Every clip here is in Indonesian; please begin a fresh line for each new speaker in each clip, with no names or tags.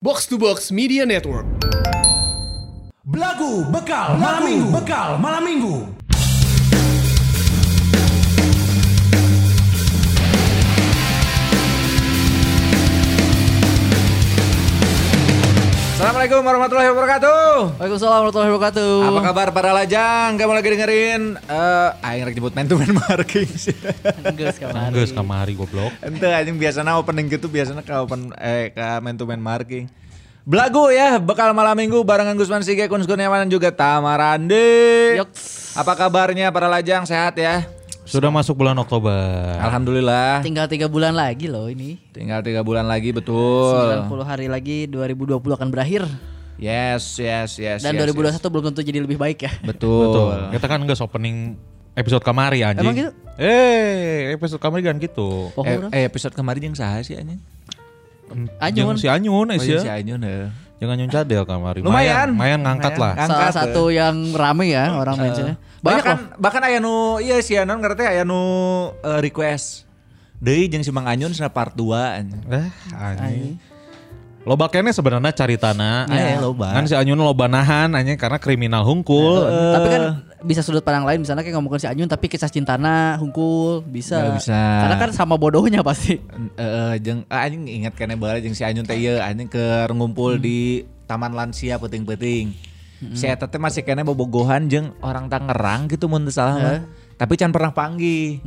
Box to Box Media Network.
Belagu bekal malam minggu, bekal malam minggu.
Assalamualaikum warahmatullahi wabarakatuh.
Waalaikumsalam warahmatullahi wabarakatuh.
Apa kabar para lajang? Kamu lagi dengerin eh aing rek jebut man to man marking. sih.
Enggeus kamari.
Enggak kamari goblok.
Ente anjing biasanya opening gitu biasana ka open eh ka man to man marking. Belagu ya, bekal malam minggu barengan Gusman Sige, Kun Kurniawan dan juga Tamarandi.
Yoks.
Apa kabarnya para lajang? Sehat ya?
Sudah masuk bulan Oktober.
Alhamdulillah.
Tinggal tiga bulan lagi loh ini.
Tinggal tiga bulan lagi betul.
90 hari lagi 2020 akan berakhir
Yes, yes, yes.
dan
yes,
2021
yes.
belum tentu jadi lebih baik ya.
Betul. Eh,
Betul. Kita kan enggak opening episode kamari anjing.
Emang gitu?
Eh, episode kamari kan gitu.
Pokoknya orang.
Eh, eh, episode kemarin yang saha sih anjing?
Jeung
Anyun.
si Anyun eh,
Oh,
sih.
jeung si Anyun, heeh.
Jangan anyun cadel kamari.
Lumayan.
Lumayan ngangkat lah.
Lumayan. Ang-
salah
angkat,
satu yang rame ya orang mentionnya. Banyak
Banyak bahkan,
loh.
bahkan aya nu iya si Anon ngerti aya nu eh, request. Deui jeung si Mang Anyun sana part 2 anjing.
Eh, anjing. Loba kene sebenarnya caritana.
Ya,
Eh,
loba.
Kan si Anyun loba nahan anjing karena kriminal Eh. hungkul.
eh,
Tapi kan bisa sudut pandang lain misalnya kayak ngomongin si Anyun tapi kisah cintana hungkul bisa.
Nggak bisa.
Karena kan sama bodohnya pasti.
Eh, jeung ah, anjing ingat kene bae jeung si Anyun teh ieu anjing keur ngumpul di Taman Lansia peuting-peuting. Si eta teh masih kene bobogohan jeung orang Tangerang gitu mun teu salah mah. Tapi can pernah panggih.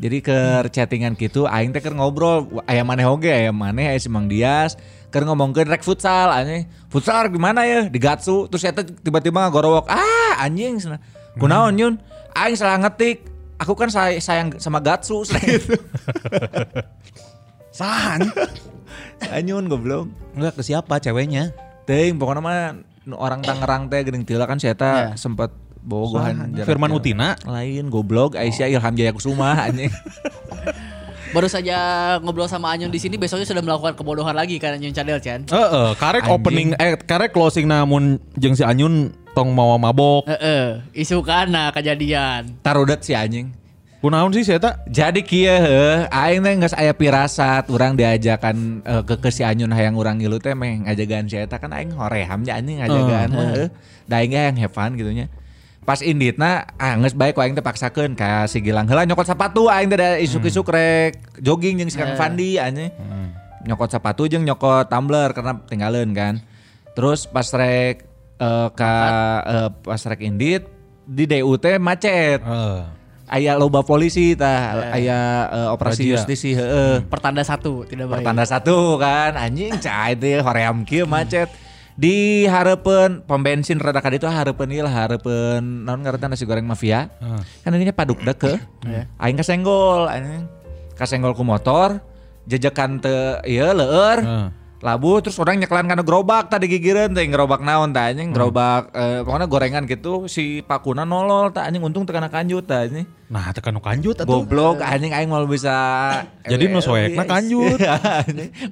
Jadi ke chattingan gitu aing teh keur ngobrol aya maneh oge aya maneh aya si Mang Dias keur ngomongkeun rek futsal anjing. Futsal rek di mana ya? Di Gatsu. Terus eta tiba-tiba ngagorowok. Ah, anjing sana. Kunaon Yun? Aing salah ngetik. Aku kan say- sayang sama Gatsu sana gitu. Sahan. Anyun goblok.
Enggak ke siapa ceweknya?
Ting pokoknya mah nu orang Tangerang teh geuning tila kan saya
Ya.
sempat bogohan jarak
Firman
jauh.
Utina.
lain goblok Aisyah Ilham Jaya Kusuma anjing.
Baru saja ngobrol sama Anyun di sini besoknya sudah melakukan kebodohan lagi kan Anyun Cadel Chan.
Eh, eh, karek
Anjing.
opening eh karek closing namun jeung si Anyun tong mau mabok.
Eh, eh, isu kana kejadian.
Tarudet si anjing.
Kunaon sih si eta?
Jadi kieu heuh, aing teh geus aya pirasat urang diajakan eh, ke ke si Anyun hayang urang ngilu teh meh ngajagaan si eta kan aing hoream nya anjing ngajagaan mah heuh. Da aing ge hayang have fun gitu nya. Pas inditna ah geus bae ku aing teh paksakeun ka si Gilang heula nyokot sepatu aing teh da isuk-isuk rek jogging jeung si Kang Fandi anjing. Nyokot sepatu jeung nyokot tumbler karena tinggalin kan. Terus pas rek eh, ka eh, pas rek indit di DUT macet
Heeh.
aya loba polisi tah aya eh, operasi
Razia.
justisi heeh
Pertanda satu tidak baik.
Eh. pertanda satu kan anjing cai teh hoream kieu macet di harapan pom bensin rada kaditu harapan ieu lah harapan naon ngaranna nasi goreng mafia
Heeh.
kan ini paduk deke aing kasenggol anjing kasenggol ku motor jejekan teu ieu leur
Heeh.
labuh terus orang nyekelan karena gerobak tadi gigiran teh gerobak naon tah anjing gerobak eh, pokoknya gorengan gitu si pakuna nolol tah anjing untung tekana kanjut tah anjing
Nah, tekan nu kanjut atuh.
Goblok anjing aing mau bisa
E
Jadi nu soekna kanjut.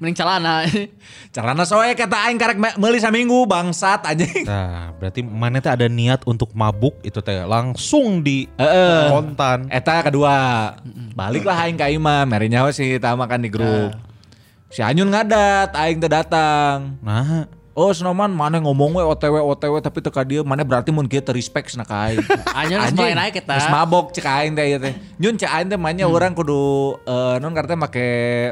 Mending celana.
Carana soek kata aing karek me- meuli saminggu bangsat anjing.
Nah, berarti mana teh ada niat untuk mabuk itu teh langsung di
Heeh.
kontan.
Eta kedua. Baliklah aing ka Imam, mere nyawa si Tama kan di grup. Si Anyun ngadat, aing teu datang.
Nah,
Oh Senoman mana ngomong we OTW OTW tapi teka dia mana berarti mun kieu teu respect sana ka aing.
Anyun geus mulai naik eta.
Geus mabok cek aing teh ieu teh. Nyun cek aing teh
Hmm.
manya urang kudu eh, non karena teh make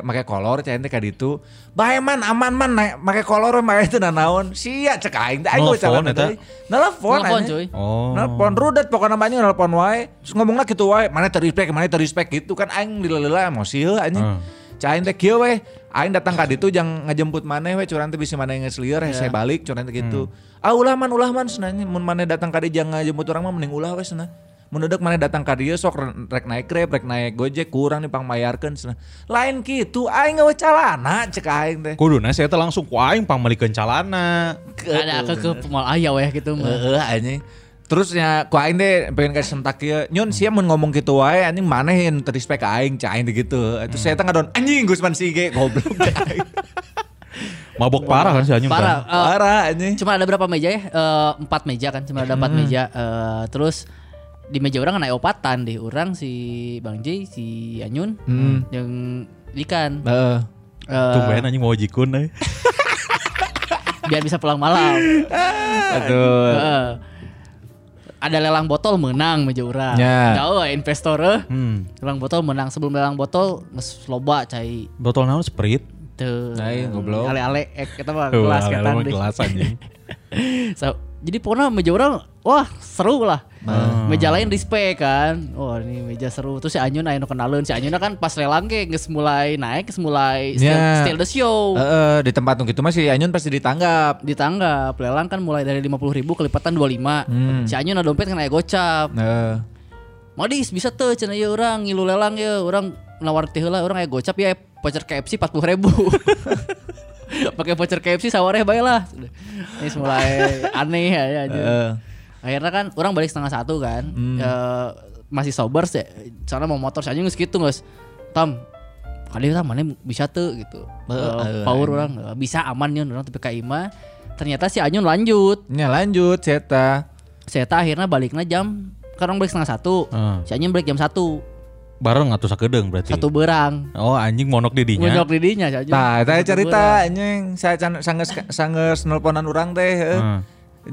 make kolor cek aing teh ka ditu. Bae man aman man na, make kolor mah itu nanaon. Sia cek aing teh aing
Nelfon
ucapan
eta?
teh. Nelfon
Nelfon,
anjing.
cuy.
Oh.
Nelfon rudet pokoknya namanya nelfon wae. Terus ngomongna gitu wae, mana terrespect, mana terrespect gitu kan aing dilelela emosi heuh anjing.
Hmm.
Cek aing teh kieu we. Aing datang ka ditu jang ngajemput maneh we curang teh bisa maneh geus lieur saya balik curang teh gitu.
Hmm.
Ah ulah man ulah man senanya mun maneh datang ka dieu jang ngajemput urang mah mending ulah we senah. Mun deudek maneh datang ka dieu sok re- rek naik Grab, rek naik Gojek kurang nih pang mayarkeun senah. Lain kitu aing geus calana cek aing teh.
kuduna nah, saya teh langsung ku aing pamelikeun calana.
Ada ke ke mall ayah weh gitu mah.
Heeh anjing. Terus ya ku aing deh pengen kasih sentak kieu. Nyun sia mun ngomong gitu wae anjing maneh yang terrespect ka aing cai aing teh gitu. Terus saya teh ngadon anjing Gusman Sige goblok.
Mabok parah kan si Anyun.
Parah.
kan?
Eh,
Parah anjing.
Cuma ada berapa meja ya? Eh, empat meja kan, cuma ada empat meja. Eh, terus di meja orang naik opatan deh, orang si Bang J, si Anyun, yang Ikan.
Heeh.
Eh,
Tumben anjing mau jikun euy.
biar bisa pulang malam.
Betul.
Heeh. Ada lelang botol menang meja urang.
Ya.
Jauh eh, investor eh.
Hmm.
Lelang botol menang sebelum lelang botol nges loba cai
Botol naon Sprite?
teu.
Lain, goblok.
Ale-ale ek eta mah ya. kelas
Wah,
ketan
emang
deh.
Gelas anjing.
So, jadi pokoknya meja orang, wah seru lah. Meja lain respect kan. Wah ini meja seru. Terus si Anyun ayo kenalan. Si Anyun kan pas lelang ke nges mulai naik, nges mulai still,
Ya.
still the show.
Heeh, di tempat nu gitu mah si Anyun pasti ditanggap.
Ditanggap, lelang kan mulai dari 50 ribu kelipatan 25. Si Anyun ada dompet kan aya gocap.
Heeh.
Modis bisa tuh cenah ya orang ngilu lelang ya. Orang nawar teh lah, orang aya gocap ya voucher KFC 40 ribu. Pakai voucher KFC sawareh bae lah. ya, Ini mulai aneh ya, ya anjing.
Heeh.
akhirnya kan orang balik setengah satu kan
Hmm.
Eh, masih sober sih soalnya mau motor saja nggak gitu nggak tam kali tam mana bisa tuh gitu Eh,
Heeh,
power
Oh, anjing.
orang eh, bisa aman nih orang tapi kaima ternyata si Anyun lanjut
Ya lanjut, Ceta.
saya akhirnya baliknya jam kan orang balik setengah satu
Hmm.
Ah.
si Anyun balik jam satu
Bareng atau sakedeung berarti.
satu berang
Oh anjing monok didinya.
Muncul didinya si Anyun.
Tah, saya
Satu
Nah, cerita
berang.
anjing, saya can- sanggeus sanggeus nelponan urang teh. heeh.
Heeh.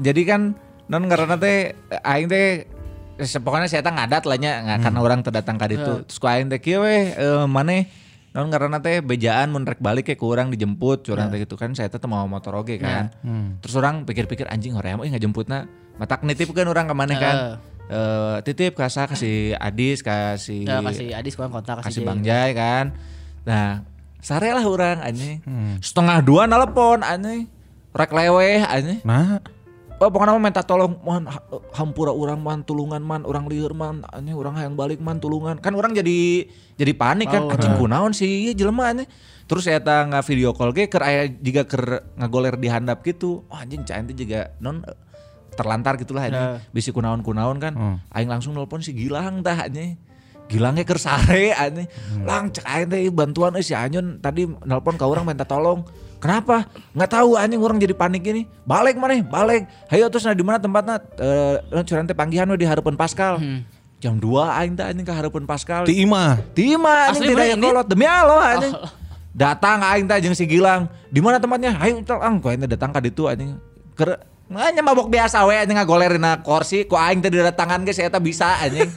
Jadi kan non karena teh aing teh se- pokoknya saya tak ngadat lah nya nggak karena orang terdatang ka ditu. Terus ku aing teh kieu weh eh, maneh non karena teh bejaan mun rek balik ke kurang dijemput curang teh gitu kan saya teh teu mau motor oge kan. Terus orang pikir-pikir anjing hoream euy ngajemputna matak nitipkeun urang ka maneh kan. Eh, titip kasa kasih Adis kasih
Ya, kasih Adis kurang
Iya.
kontak
kasih
kasih,
Bang Jai kan. Nah, sare lah orang anjing. Setengah dua nelpon anjing. Rek leweh anjing.
Nah,
Oh, pokoknya mah minta tolong man hampura orang man tulungan man orang liur man anjing orang hayang balik man tulungan. Kan orang jadi jadi panik kan anjing kunaon sih ieu jelema anjing. Terus saya tangga video call ge keur aya jiga keur ngagoler di handap gitu. Oh anjing cai teh juga non eh, terlantar gitulah anjing. Bisi kunaon-kunaon kan. Aing langsung nelpon si Gilang tah anjing. Gilangnya keur sare anjing. Lang cek aing teh bantuan eh, si Anyun tadi nelpon ka urang minta tolong. Kenapa? Nggak tahu anjing orang jadi panik gini. Balik mana? Balik. Hayo terus nah di mana tempatnya? Eh curang teh panggihan we di harapan Pascal. Jam 2 aing teh anjing ke harapan Pascal.
ti imah.
Tima anjing
Asli
tidak
bener
yang
ini? Oh.
kolot demi Allah anjing. Datang aing teh jeung si Gilang. Di mana tempatnya? Hayu tolong ku aing teh datang ka ditu anjing. Keur Makanya mabok biasa we anjing ngagoler dina kursi ku aing teh didatangan geus eta bisa anjing.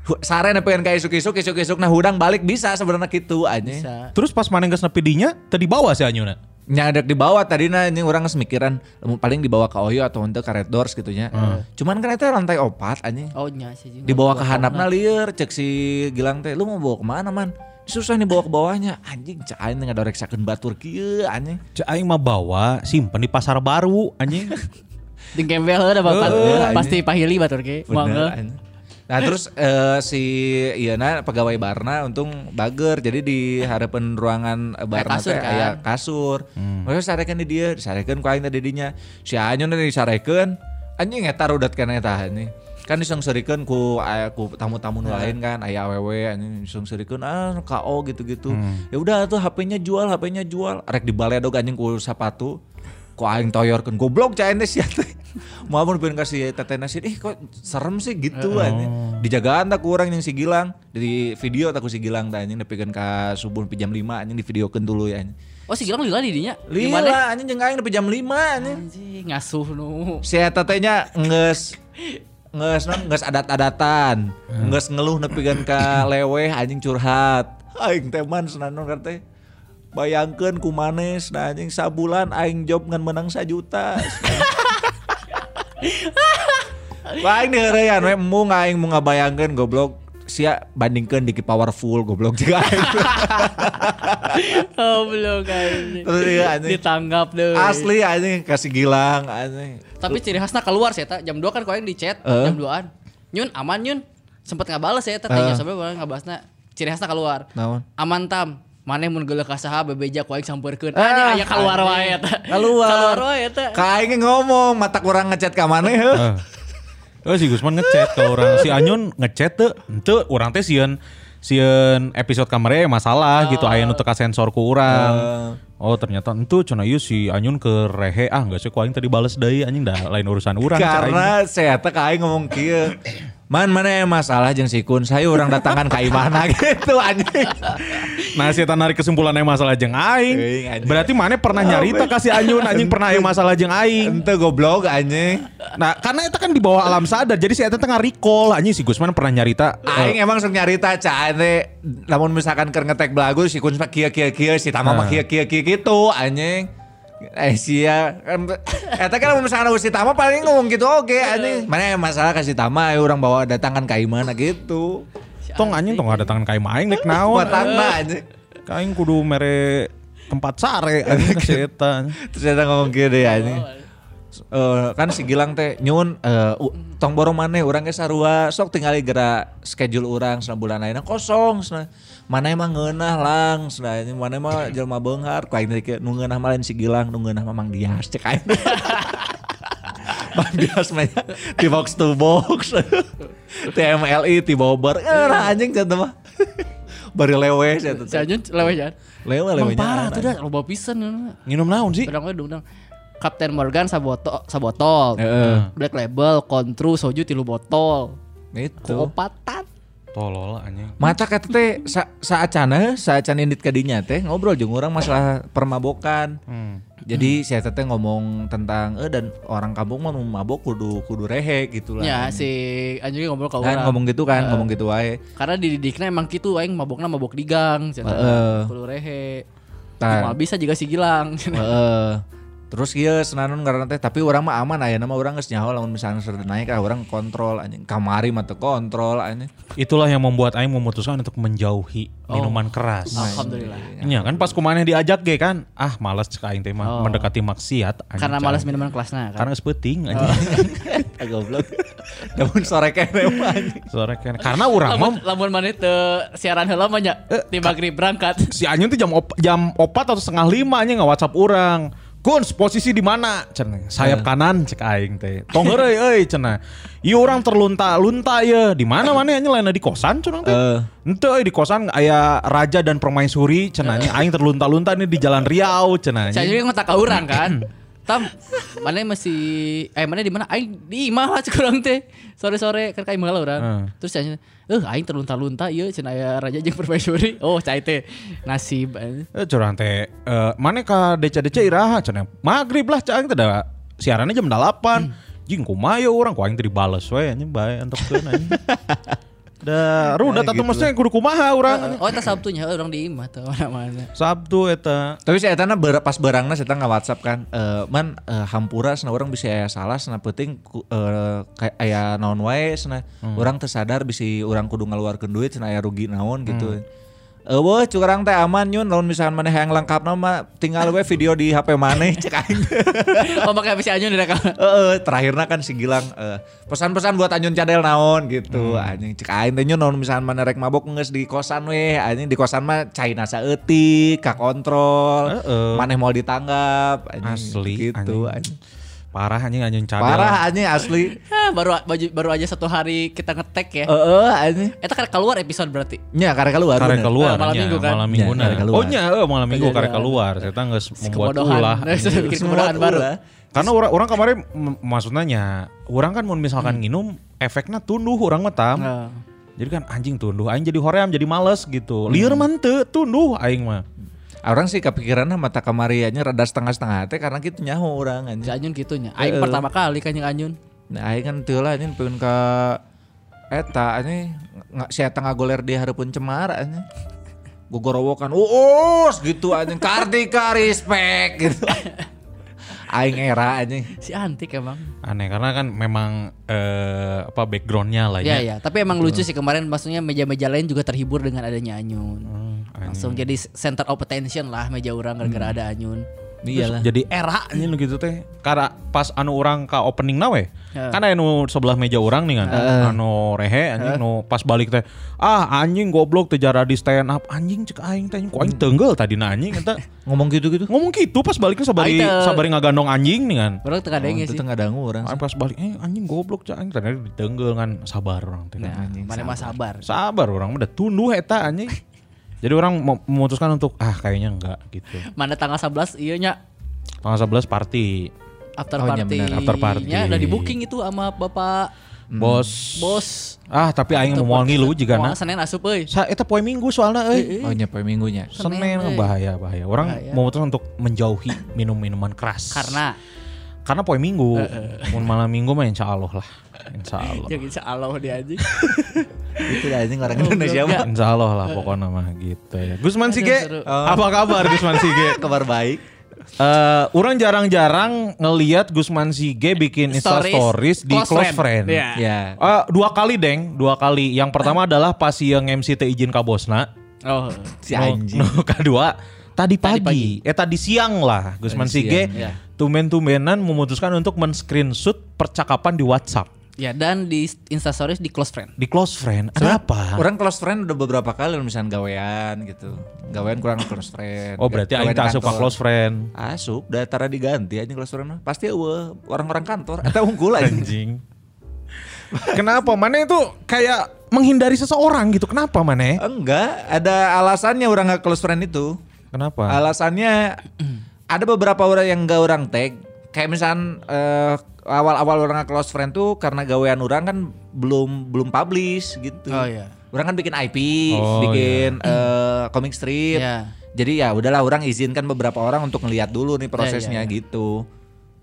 Hu- Sare na pengen ka isuk-isuk isuk-isuk nah hudang balik bisa sebenarnya gitu anjing.
Bisa.
Terus pas mana geus nepi dinya, teu dibawa si Anyuna.
Nyadek di bawah tadi nah anjing orang geus mikiran "Lemu paling dibawa ke Oyo atau untuk ke Red Doors gitu nya.
Hmm.
Cuman kan eta lantai opat anjing.
Oh nya sih.
dibawa ke handapna lieur cek si Gilang teh lu mau bawa kemana man susah nih bawa ke bawahnya anjing cek aing nggak reksakan batur kieu anjing
Cek aing mah bawa, simpen di pasar baru anjing.
Jeung kembel ada bapak.
Heeh, Oh, anjing.
Pasti pahili batur ge. Moal
Bener,
ge.
anjing. nah terus eh, si Iana pegawai Barna untung bager jadi di harapan ruangan eh, Barna
kasur,
teh
kan?
aya kasur maksudnya sarekan di dia disarekan ku aing teh di dinya si Anyun teh disarekan anjing eta rudat kana eta anjing kan disungsurikeun ku aya- ku tamu-tamu nu lain kan aya awewe anjing disungsurikeun ah KO gitu-gitu ya udah tuh HP-nya jual HP-nya jual rek dibaledog anjing ku sepatu ku aing toyorkeun goblok cai teh sia teh mau mun pengen kasih teteh nasi ih kok serem sih gitu anjing dijagaan tak kurang yang si Gilang di video tak ku si Gilang teh anjing nepikeun ka subuh nepi jam 5 anjing di videokeun dulu ya anjing
Oh si Gilang lila di dinya. Di mana?
Lila anjing jeung aing nepi jam 5 anjing
Anjing ngasuh nu.
si eta teh nya ngeus ngeus non ngeus adat-adatan, ngeus ngeluh nepikeun ka leweh anjing curhat. Aing teh man sananon kan teh. Bayangkeun kumanes nah anjing sabulan aing job ngan menang sajuta. Wah aing diheurean we mung aing mung ngabayangkeun goblok sia bandingkeun diki powerful goblok juga aing.
Oh belum kan.
Terus iya, anjing.
Ditanggap deh.
Asli anjing kasih Gilang anjing.
Tapi ciri khasna keluar sih eta. Jam 2 kan kau yang di chat
Eh.
jam 2-an. Nyun aman Nyun. Sempet ngabales ya eta
Eh.
tanya sampai orang ngabasna. Ciri khasna keluar.
Naon?
Aman tam. Mana mun geuleuh ka saha bebeja ku aing sampeurkeun.
Ah,
Anjing aya keluar wae eta.
Keluar.
Keluar wae ya, eta.
Kayak ngomong mata kurang ngechat ka maneh. heuh.
Eh. Oh si Gusman ngechat ke orang si Anyun ngechat tuh, tuh orang teh sieun sieun episode kamarnya masalah gitu aya nu teu sensor ku urang. Oh ternyata itu cina ieu si Anyun ke rehe ah nggak sih ku aing tadi bales deui anjing dah lain urusan urang. cah aing.
karena saya teh kayak ngomong kia Man mana yang masalah jeung sikun saya orang datangan ka imahna gitu anjing.
Nah, si eta narik kesimpulannya masalah jeung
Euing,
aing.
anjing.
Berarti mana pernah nyarita kasih anyun anjing pernah aya masalah jeung aing.
Ente goblok anjing.
Nah, karena eta kan di bawah alam sadar. Jadi si eta tengah recall anjing si Gusman pernah nyarita. "Eh,
Aing emang sok nyarita caan teh lamun misalkan keur ngetek belagu si kun mah kieu kieu kieu si Tama
Nah.
mah kieu kieu kieu gitu anjing. Eh sia kan eta kan lamun misalkan si Tama paling ngomong gitu oke anjing. Mana yang masalah ka si Tama ayo urang bawa datangan ka imahna gitu.
Tong anjing tong ada tangan kaim aing dek naon. eh?
Buatana anjing.
Kaing kudu mere tempat sare anjing si eta.
Terus dia ngomong gitu ya ini. Eh, kan si Gilang teh nyun eh, u- tong borong mana orang ge sarua sok tinggali gerak schedule orang sana bulan lainnya kosong sana. Mana emang ngeunah lang sana ini mana emang jelma beunghar ku aing teh ke- nu ngeunah mah lain si Gilang nu ngeunah mah Mang Dias cek aing. Mang Dias mah nya di box to box. TMLI ti bobor. Eh lah anjing cenah mah. Bari lewes ya
Si
tuh.
Anyun lewat jalan.
Lewe
Emang
lewenya.
parah tuh dah, loba pisan. kan.
Nginum naon sih?
Padahal gue diundang Kapten Morgan saboto, sabotol,
Heeh.
Black Label, Kontru, Soju tilu botol,
Itu.
kopatan.
Tolol anjing.
Mata kata teh sa saacana saacana indit kadinya teh ngobrol jeung orang masalah permabokan.
Hmm.
Jadi saya teh ngomong tentang eh dan orang kampung mah nu mabok kudu kudu rehe gitu lah.
Ya si Anjungnya ngobrol
Kan
ke orang.
ngomong gitu kan, ngomong gitu wae.
Karena dididiknya emang gitu, aing mabokna mabok di gang, cina.
Heeh.
Kudu rehe.
Tar.
Cuma bisa juga si Gilang. cina.
Heeh. Terus ieu senanun karena teh tapi orang mah aman aya nama orang geus nyaho lamun misalnya sarta naik ah, orang kontrol anjing kamari mah teu kontrol anjing.
Itulah yang membuat aing memutuskan untuk menjauhi minuman keras.
Alhamdulillah.
Iya kan pas kumaneh diajak ge kan, ah malas cek aing teh mah
Oh.
mendekati maksiat anjing.
Karena
Cai.
malas minuman kelasnya kan.
Karena geus peuting anjing.
Goblok. Namun sore kene mah anjing.
Sore kan. Karena urang mah
Lamun, lamun mana teu siaran heula mah nya
Eh,
di maghrib berangkat.
si Anyun tuh jam op, jam opat atau setengah lima nya nggak WhatsApp orang. Guns posisi di mana? Cenah. Sayap kanan cek aing teh. Tong heureuy euy cenah. Ieu urang terlunta-lunta ye. Di mana mana nya lain di kosan cenah teh.
Eh.
Henteu euy di kosan aya Raja dan Permaisuri cenah nya aing terlunta-lunta nih di Jalan Riau cenah.
Saya
nya.
juga ngotak ke orang kan. Tam, mana masih eh mana di mana? Aing di imah lah kurang teh. Sore-sore kan ka imah lah urang.
Heeh.
Terus saya "Eh, aing terlunta-lunta ieu cenah aya raja jeung permaisuri." Oh, cai teh nasib. eh.
Eh curang teh eh, mana ka deca-deca iraha cenah. Magrib lah cek aing teh da siarannya jam 8. Jing kumaha ye urang ku aing teh dibales we nya bae antepkeun aing. Da rudat atuh maksudnya kudu kumaha urang.
Oh, eta Sabtunya eh, orang di imah tuh mana-mana.
Sabtu eta.
Tapi saya tanya ber, pas barangnya saya nggak WhatsApp kan, Eh, man eh, hampura sana orang bisa aya salah, sana penting eh kayak aya naon wae, sana orang tersadar bisa orang kudu ngeluarkan duit, sana aya rugi naon gitu. Eh, wah curang teh aman yun, lawan misalkan mana yang lengkap nama, tinggal we video di HP mana, cek aing.
Oh, pakai bisa anjun di rekam.
Heeh, terakhirnya kan si Gilang eh, pesan-pesan buat Anyun Cadel naon gitu. Anjing cek aing teh nyun naon misalkan mana rek mabok geus di kosan weh. Anjing di kosan mah China saeutik,
Eh,
ka kontrol.
Heeh.
Maneh mau ditanggap anjing
Asli,
gitu
anjing.
anjing.
Parah anjing anjing cadel.
Parah anjing asli.
Ah, baru baju, baru aja satu hari kita ngetek ya.
Heeh anjing.
Eta kan keluar episode berarti.
Nya karek keluar.
Karek
bener.
keluar
Malam
nya,
minggu kan?
Malam minggu
Ya, karek keluar.
Oh nya eh, malam minggu
Iya,
karek
iya.
keluar. Saya nggak membuat
Kemodohan.
ulah.
Nah, sudah bikin kemodohan
Semua
baru.
ulah.
Karena orang orang kemarin m- maksudnya nya, orang kan mau misalkan nginum efeknya tunduh orang mah tam.
Heeh.
Jadi kan anjing tunduh, aing jadi hoream jadi males gitu. Lieur mah teu tunduh aing mah.
Orang sih kepikiran mata kamarianya rada setengah-setengah teh karena gitu nyaho orang anjing.
Si Anyun gitunya. Aing pertama kali kan yang Anyun.
Nah, aing kan teu lah anjing pengen ka eta anjing nggak saya tengah goler di hareupeun cemar anjing. Gogorowokan uus gitu anjing Kartika respect gitu. Aing era anjing.
Si antik emang.
Aneh karena kan memang eh, apa backgroundnya lah ya.
Iya iya, tapi emang lucu sih kemarin maksudnya meja-meja lain juga terhibur dengan adanya Anyun.
Hmm,
Langsung jadi center of attention lah meja orang gara-gara ada Anyun.
Iyalah.
Jadi era nya nu gitu teh. Karena pas anu orang ka opening na we.
Heeh.
Kan anu sebelah meja orang nih kan. Anu rehe anjing nu pas balik teh. Ah anjing goblok teh jara di stand up. Anjing cek aing teh anjing. Ku aing tenggel tadi na anjing eta.
Ngomong gitu-gitu. kan
Ngomong gitu pas baliknya sabari
Aing teh-
sabari ngagandong anjing nih kan.
Orang tengah denge
Itu
sih.
tengah dangu orang.
Ah, Pas balik eh anjing goblok cek aing ternyata ditenggel kan sabar orang teh.
Nah, mana mah sabar.
Sabar orang udah tunduh eta anjing. Jadi orang mem- memutuskan untuk ah kayaknya enggak gitu.
Mana tanggal 11 iya nya
Tanggal 11 party.
after
Oh, iya
party. Iya,
benar,
after party.
udah di booking itu sama Bapak
Bos.
Bos.
Ah, tapi aing
Teu
mau moal ngilu nah.
podcast.
jigana.
Moal Senin asup euy.
Sa eta poe Minggu soalnya euy.
Oh nyepe minggunya.
Senin,
Senin
euy.
bahaya bahaya. Orang
Bahaya.
memutuskan untuk menjauhi minum minuman keras.
Karena
karena poe Minggu. Mun malam Minggu mah insya Allah lah. Insya Allah.
yang insya ya gitu, Allah dia aja.
Itu lah anjing Iya, orang Indonesia mah.
Insya Allah lah pokoknya mah gitu ya. Gusman Sige,
seru.
apa kabar Gusman Sige?
Kabar baik.
Eh, orang jarang-jarang ngelihat Gusman Sige bikin Insta
Stories.
Stories di
Close
close friend.
friend. Iya.
Ya.
Eh, dua kali deng, dua kali. Yang pertama adalah pas yang MC teh izin ka bosna.
Oh.
Si anjing.
No, no, kedua tadi pagi.
pagi.
eh tadi siang lah Gusman
Tadi
Sige
siang, ya.
tumen-tumenan memutuskan untuk men-screenshot percakapan di WhatsApp
Ya dan di Instastories di close friend.
di close friend. Kenapa?
Orang close friend udah beberapa kali misalnya gawean gitu. Gawean kurang close friend.
Oh berarti
Gawean
aing
di
tak suka
kantor.
close friend.
Asup, datara diganti anjing close friend mah. Pasti eueuh, orang-orang kantor atau unggul anjing.
Anjing. Kenapa? Mana itu kayak menghindari seseorang gitu. Kenapa mana?
Enggak, ada alasannya orang nggak close friend itu.
Kenapa?
Alasannya ada beberapa orang yang nggak orang tag. Kayak misalkan eh, awal-awal orang nggak close friend tuh karena gawean orang kan belum belum publish gitu.
Oh, iya.
Orang kan bikin IP,
Oh,
bikin eh, comic strip.
Iya.
Jadi ya udahlah orang izinkan beberapa orang untuk ngelihat dulu nih prosesnya
iya.
gitu.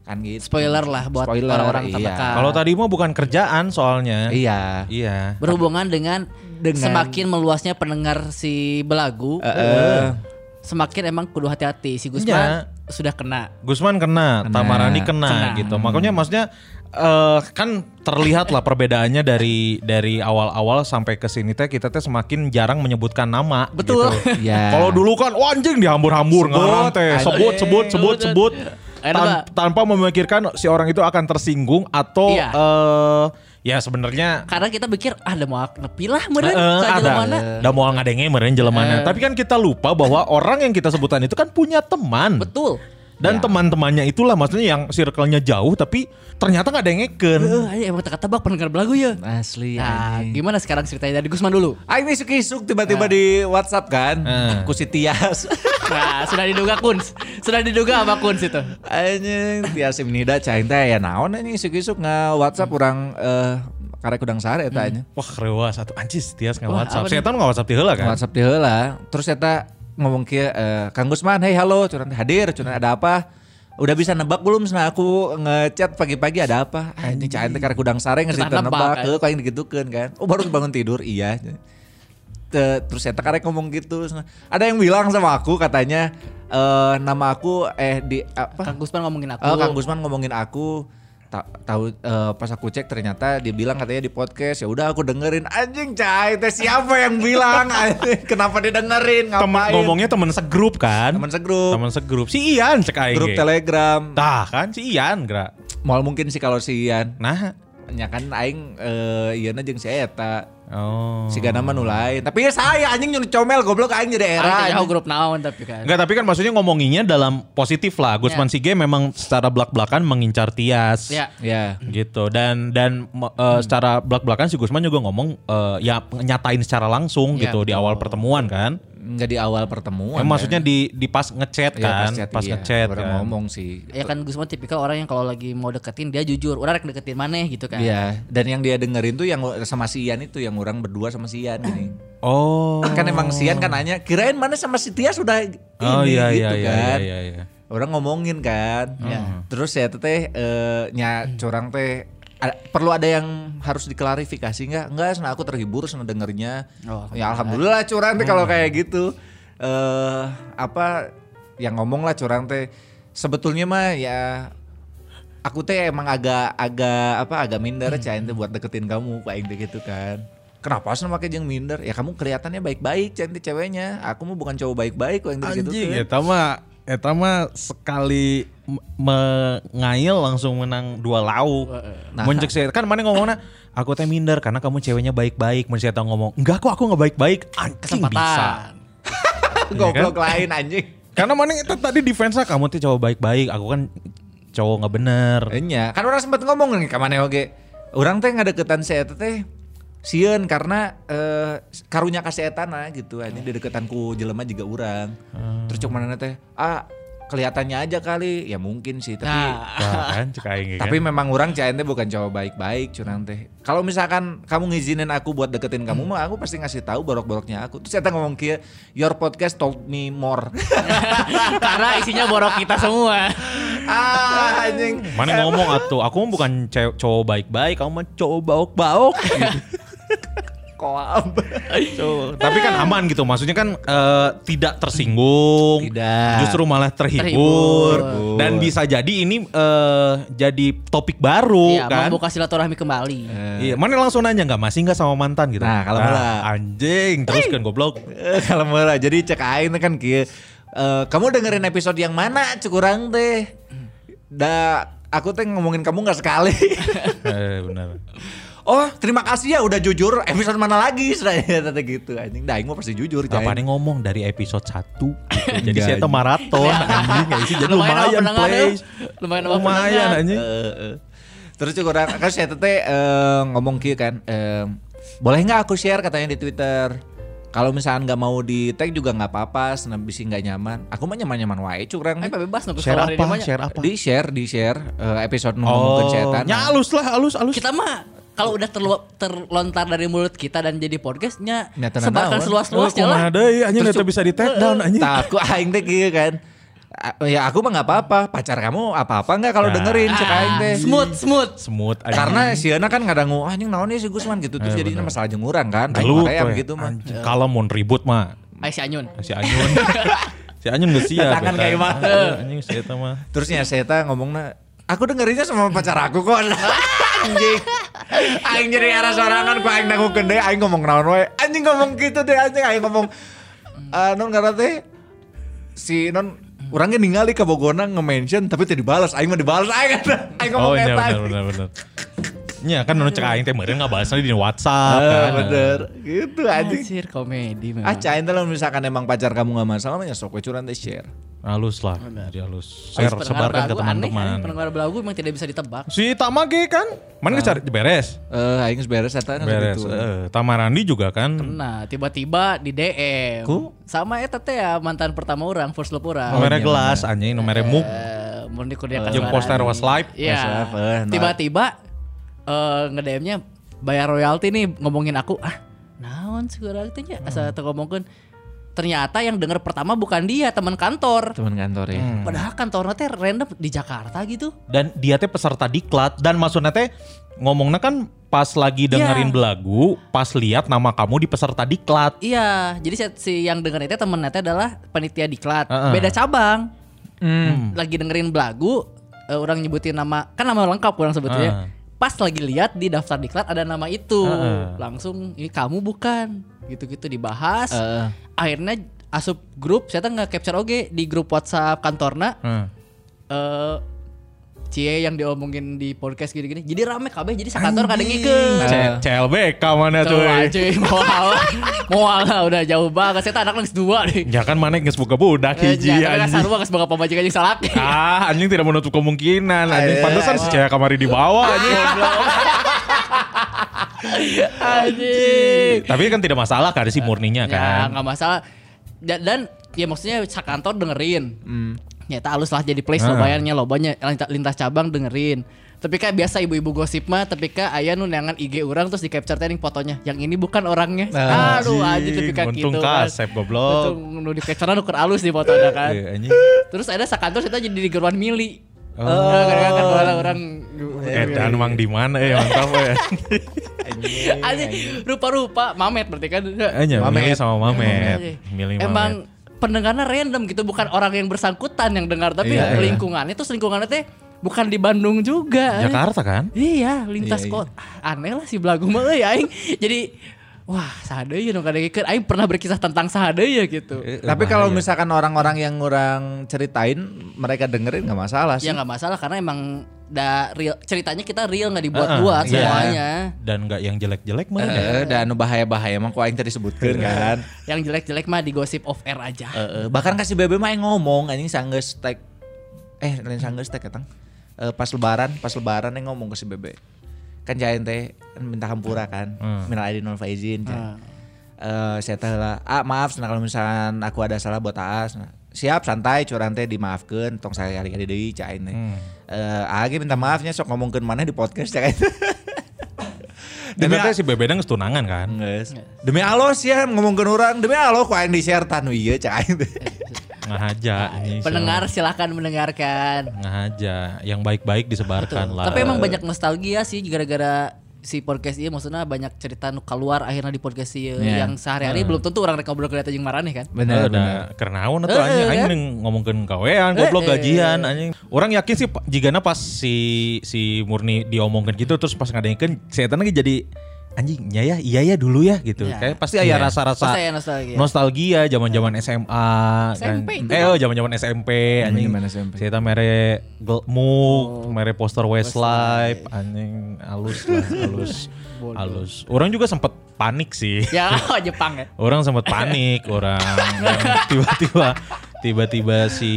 Kan gitu.
Spoiler lah buat
Spoiler,
orang-orang
iya.
terdekat.
Kalau tadi mah bukan kerjaan soalnya.
Iya.
Iya.
Berhubungan dengan,
Dengan- Eh,
semakin meluasnya pendengar si belagu, semakin emang kudu hati-hati si Gusman
Ya.
Iya.
sudah kena.
Gusman kena,
Kena.
Tamarani kena,
Kena.
gitu. Makanya maksudnya eh kan terlihat lah perbedaannya dari dari awal-awal sampai ke sini teh kita teh semakin jarang menyebutkan nama.
Betul.
Gitu.
Ya.
Kalau dulu kan wah anjing dihambur-hambur ngarang teh sebut sebut sebut sebut
Ayo,
Tan-
Pak.
tanpa memikirkan si orang itu akan tersinggung atau
Iya.
eh, ya sebenarnya
Karena kita pikir ah ada mau nepi lah meureun
eh,
ka
ada
mana.
da moal ngadenge meureun jelemana. Tapi kan kita lupa bahwa orang yang kita sebutan itu kan punya teman.
Betul.
Dan
Ya.
teman-temannya itulah maksudnya yang circle-nya jauh tapi ternyata nggak ada yang ngeken.
Eh, ayo emang teka tebak pendengar belagu ya.
Asli
Nah,
anjing.
Eh. gimana sekarang ceritanya dari Gusman dulu?
Aing isuk-isuk tiba-tiba di WhatsApp kan.
Ah.
Aku si Tias.
Nah, sudah diduga Kuns. Sudah diduga sama Kuns itu.
Anjing Tias Imnida cain teh ya naon anjing isuk-isuk nge WhatsApp urang eh karek udang sare eta anjing.
Wah rewa satu anjis Tias nggak
Wah,
WhatsApp.
apa
Setan nggak WhatsApp tiheula kan?
WhatsApp dia heula. Terus eta ngomong ke eh, Kang Gusman, "Hei halo, cuman hadir, cuman ada apa?" Udah bisa nebak belum sana aku ngechat pagi-pagi ada apa? Anjing cain teh karek udang sare ngasih
Kita nebak,
nebak,
kan.
heuh kayak digitukeun kan. Oh baru bangun tidur, iya. Te- terus saya karek ngomong gitu terus ada yang bilang sama aku katanya eh, nama aku eh di apa
Kang Gusman ngomongin aku.
Oh, Kang Gusman ngomongin aku ta- tahu eh, pas aku cek ternyata dia bilang katanya di podcast ya udah aku dengerin anjing cai teh siapa yang bilang anjing kenapa didengerin
Teman
ngapain
ngomongnya teman segrup kan?
teman segrup
Teman segrup. Si Ian cek aing. ge.
grup telegram
Tah kan si Ian gra.
mal mungkin sih kalau si Ian
Nah.
nya kan aing eh, Ian aja si Eta
Oh.
si Gana mah nu lain tapi ya saya anjing nyuruh comel goblok aing jadi era
Ayo
anjing.
grup naon tapi kan.
Enggak tapi kan maksudnya ngomonginnya dalam positif lah. Gusman Sige memang secara belak-belakan mengincar Tias.
Ya.
ya
gitu dan dan me- eh,
Hmm.
secara belak belakan si Gusman juga ngomong eh, ya nyatain secara langsung
Iya,
gitu di awal pertemuan kan
nggak di awal
Eh,
pertemuan kan.
maksudnya di di pas ngechat
Iya,
kan,
pas chat,
pas
iya.
ngechat
Orang
kan.
ngomong sih
Ya kan Gusman tipikal orang yang kalau lagi mau deketin dia jujur. Orang rek deketin maneh gitu kan.
Iya, dan yang dia dengerin tuh yang sama si Ian itu yang orang berdua sama si Ian gini.
Oh.
Kan emang si Ian kan nanya, kirain mana sama si Tia sudah ini
Oh iya iya
gitu
iya
kan.
iya iya.
Orang ngomongin kan. Terus ya teteh eh, nya curang teh ada- perlu ada yang harus diklarifikasi nggak? Nggak, sana aku terhibur sana dengernya.
Oh,
ya alhamdulillah curang teh kalau kayak gitu. Eh apa yang ngomong lah curang teh sebetulnya mah ya aku teh emang agak agak apa agak minder cain teh buat deketin kamu paling gitu kan kenapa sih pakai jeung minder ya kamu kelihatannya baik-baik cain teh ceweknya aku mah bukan cowok baik-baik paling gitu
Anjing ya
kan.
eta mah eta mah sekali m- mengail langsung menang dua lauk. Nah. Muncul saya kan mana ngomongnya aku teh minder karena kamu ceweknya baik-baik. Mun saya tahu ngomong, enggak kok aku nggak baik-baik. Anjing bisa.
Kesempatan.
kan?
goblok lain anjing
Karena mana itu tadi defense kamu tuh cowok baik-baik, aku kan cowok nggak bener.
Enya, kan orang sempat ngomong nih kamane oge. Orang teh ngadeketan si eta teh sieun karena eh,
Hmm.
karunya ka si etana gitu. Ini dideketan ku jelema juga urang. Terus cok manehna teh, "Ah, kelihatannya aja kali ya mungkin sih tapi
Nah,
Wah, kan cek aing ge kan.
tapi memang orang Caen teh bukan cowok baik-baik curang teh. Kalau misalkan kamu ngizinin aku buat deketin kamu
Hmm.
mah aku pasti ngasih tahu borok-boroknya aku. Terus saya ngomong kia, your podcast told me more.
karena isinya borok kita semua.
ah anjing.
Mana ngomong atuh, aku mah bukan ce- cowok baik-baik, kamu mah cowok baok-baok. gitu.
Koam.
Cowok. Tapi kan aman gitu, maksudnya kan eh, tidak tersinggung.
Tidak.
Justru malah
Terhibur.
terhibur. Dan bisa jadi ini eh, jadi topik baru
Iya,
kan.
membuka silaturahmi kembali.
Iya, mana langsung nanya nggak masih nggak sama mantan gitu.
Nah, kalau malah-
anjing terus kan goblok.
Eh, Kalau malah jadi cek aing teh kan kia. eh, kamu dengerin episode yang mana curang teh? Da aku teh ngomongin kamu nggak sekali.
eh, benar.
oh, terima kasih ya udah jujur. Episode mana lagi? Saya teh gitu anjing. Da aing mah pasti jujur Caen.
Kapan ngomong dari episode 1 gitu. Jadi
Enggak,
saya tuh
anjing.
maraton anjing ya, sih, jadi
Lumayan sama
lumayan
pendengar,
play.
ya. Lumayan sama
Lumayan
pendengar.
anjing.
Heeh. Eh, Terus juga orang kan saya tete eh, ngomong kia kan, eh, boleh nggak aku share katanya di Twitter. Kalau misalkan nggak mau di tag juga nggak apa-apa, senam bisi nggak nyaman. Aku mah nyaman-nyaman wae curang.
Eh, bebas nunggu
Share apa?
sore namanya.
Share apa?
Di share, di share eh, episode ngomongin setan.
ya alus lah, alus, alus.
Kita mah kalau udah terlu- terlontar dari mulut kita dan jadi podcastnya
Ya, tenang
sebarkan
naon.
seluas-luasnya lah.
Ada ya, anjing udah bisa di take down anjing.
Nah, aku aing teh kieu kan. A- Ya aku mah nggak apa-apa. Pacar kamu apa-apa nggak kalau
Nah.
dengerin cek aing
Ah,
teh.
smooth, smooth.
Semut anjing.
Karena sieuna kan ngadangu ah anjing naon nih si Gusman gitu terus jadinya masalah jenguran kan. Aing
gelut
maream
we.
gitu mah.
Anjing, Kalau mau ribut mah
Ay, si Anyun.
si Anyun. si Anyun gak siap.
Tangan
betan.
kayak mah.
Aduh, Anjing saya tuh mah.
Terusnya Seta ngomongnya, aku dengerinnya sama pacar aku kok. anjing. Aing jadi arah sorangan ku aing nanggung gede, aing ngomong naon wae. Anjing ngomong gitu deh anjing aing ngomong "Eh, non karena teh si non orangnya ningali ke Bogona nge-mention tapi tidak dibalas. Aing mah dibalas aing kata. Aing
Oh
ngomong
iya
eta.
benar benar benar. Ya kan nu cek aing teh meureun ngabahasna di WhatsApp
Ah,
kan.
bener. Gitu anjing.
Anjir, komedi
Iya.
Ah,
memang.
cain teh lamun misalkan emang pacar kamu gak masalah, mah ya sok we curang teh share.
Halus lah, jadi halus. Share,
Oh, Pendengar
sebarkan ke
belagu aneh, aneh.
teman-teman.
Pendengar belagu memang tidak bisa ditebak.
Si Tamage kan, mana cari beres.
Eh, aing geus beres eta kan
Beres.
gitu.
eh, Tamarandi juga kan.
Nah, tiba-tiba di DM.
Ku? Oh,
Sama eta teh ya mantan pertama orang, first love orang.
Nomere gelas anjing, nomere muk.
Eh, mun dikuliah
Jeung
kasarani.
poster was live.
Iya.
Was live, eh, nah.
Tiba-tiba eh nge-DM-nya bayar royalti nih ngomongin aku. Ah, naon sih urang teh
Hmm.
nya? Asa teu ngomongkeun. Ternyata yang denger pertama bukan dia, teman kantor.
Temen kantor ya.
Hmm.
Padahal kantornya teh random di Jakarta gitu.
Dan dia teh peserta diklat dan maksudnya teh ngomongnya kan pas lagi dengerin
Iya.
belagu, pas lihat nama kamu di peserta diklat.
Iya, jadi si- si yang denger itu temennya teh adalah panitia diklat.
Heeh.
Beda cabang.
Hmm.
Lagi dengerin belagu, eh, orang nyebutin nama, kan nama lengkap orang sebetulnya.
Heeh.
Pas lagi lihat di daftar diklat ada nama itu.
Heeh.
Langsung ini kamu bukan. Gitu-gitu dibahas.
Heeh.
Akhirnya asup grup, saya teh nge-capture oge di grup WhatsApp kantorna.
Heeh.
eh Cie yang diomongin di podcast gini-gini. Jadi rame kabeh jadi sakantor kadang
C- CLBK mana tuh?
Coba cuy, moal, moal lah udah jauh banget. Saya anak nangis dua nih. Eh,
Ya kan mana geus boga budak hiji
Karena
anjing.
sarua geus boga pamajikan jeung salak.
Ah, anjing tidak menutup kemungkinan. Anjing
Ayo,
Iya,
pantesan si cewek kamari di bawah anjing.
Anjing.
Tapi kan tidak masalah kan si murninya
Iya. Ya
kan.
enggak masalah. Dan, dan ya maksudnya sakantor dengerin. Ya tak halus lah jadi place
Hmm. Ah.
lo bayarnya lobanya lintas, lintas cabang dengerin. Tapi kayak biasa ibu-ibu gosip mah, tapi kayak ayah nu neangan IG orang terus di capture teh ning fotonya. Yang ini bukan orangnya. Aduh, aja tapi kayak gitu.
untung
kan.
kasep, goblok.
Untung nu di capture nu keur alus di fotonya kan.
Iya, anjing.
Terus ada sakantor kita jadi di geruan mili.
Oh.
Eh, kadang-kadang kan orang orang iya.
Edan Eh, mang di mana eh mantap ya. Iya,
Anjing, rupa-rupa mamet berarti kan.
Hanya
Mamet.
milih sama
Anjing.
Mamet. Milih Mamet.
Iya, Emang pendengarnya random gitu, bukan orang yang bersangkutan yang dengar, tapi
Iya, iya.
lingkungannya terus lingkungannya teh bukan di Bandung juga.
Jakarta kan?
Iya, lintas
Iya, iya.
kota. Ah, Aneh lah si Blagu mah euy aing. Jadi wah, sahadeui nu kadengkeun aing pernah berkisah tentang sahadeui gitu.
Eh,
Tapi
bahaya.
kalau misalkan orang-orang yang orang ceritain, mereka dengerin nggak masalah sih.
Ya nggak masalah karena emang da real, ceritanya kita real nggak dibuat-buat
Iya.
semuanya.
dan nggak yang jelek-jelek mah ya.
Eh, dan bahaya-bahaya emang kok aing tadi sebutkeun kan.
Yang jelek-jelek mah digosip off air aja.
Eh, eh, bahkan kasih bebe mah yang ngomong anjing sanggeus tag eh lain sanggeus tag katang. Eh, pas lebaran, pas lebaran yang ngomong ke si bebe. Kan jain teh kan minta hampura kan. Minal aidin wal faizin. Jain. Eh, saya teh lah, "Ah, maaf nah kalau misalkan aku ada salah buat Aas." Nah, siap santai curang teh dimaafkan tong saya hari hari deui cai teh. Eh, Agi minta maafnya sok ngomongkeun mana di podcast cai teh.
Demi
Demi-
si Bebedang setunangan kan.
Geus. Demi Allah ya ngomongkeun orang demi Allah ku aing di share tanu ieu cai teh.
Ngahaja.
Iya.
ini,
Nah, Pendengar silahkan mendengarkan.
so. Ngahaja. Yang baik-baik disebarkan lah.
Tapi emang banyak nostalgia sih gara-gara si podcast ieu maksudnya banyak cerita nu keluar akhirnya di podcast ieu
Iya.
yang sehari-hari belum tentu orang rek ngobrol kelihatan jeung maraneh kan.
Bener, bener. Kernaun atau anjing,
Eh, eh,
anjing
kan?
neng ngomongkeun kawean, goblok
Eh, eh.
gajian anjing. Orang yakin sih pa- jigana pas si si Murni diomongkeun gitu terus pas ngadengkeun si eta lagi jadi anjing nya ya, iya ya dulu ya gitu.
Iya.
Kayak pasti aya
Iya.
rasa-rasa
Pasti aya nostalgia. Iya.
Nostalgia zaman-zaman SMA
SMP
kan.
itu.
Eh, oh, zaman-zaman SMP anjing.
Zaman-zaman SMP.
Si eta mere
Oh.
gelmuk, mere poster Westlife anjing halus lah, halus. halus. Orang juga sempat panik sih.
Ya Jepang ya.
Orang sempat panik, orang yang tiba-tiba tiba-tiba si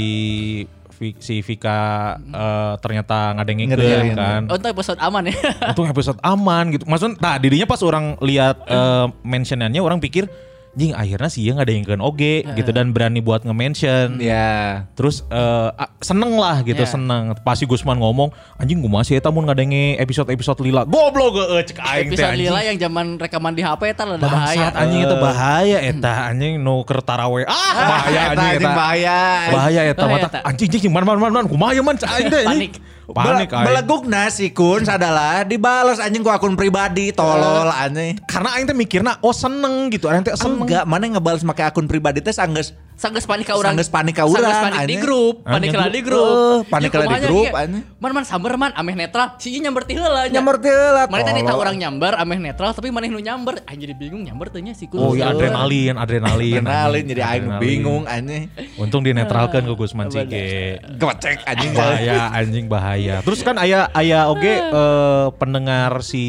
Vi- si Vika eh, ternyata ngadengin
Ngedengin.
kan.
Oh, Untuk episode aman ya.
Untung episode aman gitu. Maksudnya, nah dirinya pas orang lihat eh, mentionannya orang pikir, jing akhirnya sih ya ngadengin oge
Iya.
gitu dan berani buat nge-mention.
Ya.
Terus eh, ah, seneng lah gitu,
Iya.
seneng. Pasti Gusman ngomong, anjing gue masih eta mun ngadenge episode-episode lila. Goblok eh, cek aing teh
episode
anjing.
lila yang zaman rekaman di HP eta lah bahaya.
Bangsat anjing itu bahaya eta anjing nu keur tarawe. Ah bahaya
Eta,
anjing
anjing
eta.
bahaya.
Bahaya eta
Bahaya
mata.
eta.
Anjing anjing man man man man kumaha man cai teh anjing. Panik
Panik
aing.
Belegukna si Kun sadalah dibales anjing ku akun pribadi tolol
Eh.
anjing.
Karena aing teh mikirna oh seneng gitu. Aing teh seneng.
Enggak, mana yang ngebales make akun pribadi teh sanggeus
Sanggeus panik ka urang.
Sanggeus panik ka urang,
Sanggeus panik di
anjing.
grup,
Anjing
panik lah
grup.
di grup.
Eh, panik
Ya,
lah di
kumaha
grup,
ge?
anjing.
Man man samber man ameh netral, si ieu nyamber ti heula nya.
nyamber teu lah.
Mana tadi
tolol.
tahu orang nyamber ameh netral tapi mana nu nyamber anjing Ah, jadi bingung nyamber teh nya si
Oh ya
ya
adrenalin, adrenalin.
Kenalin
anjing.
jadi aing
Adrenalin.
bingung anjing.
Untung dinetralkan ke Gusman Cige.
Gocek anjing.
Bahaya anjing bahaya. Terus kan aya aya oge eh, pendengar si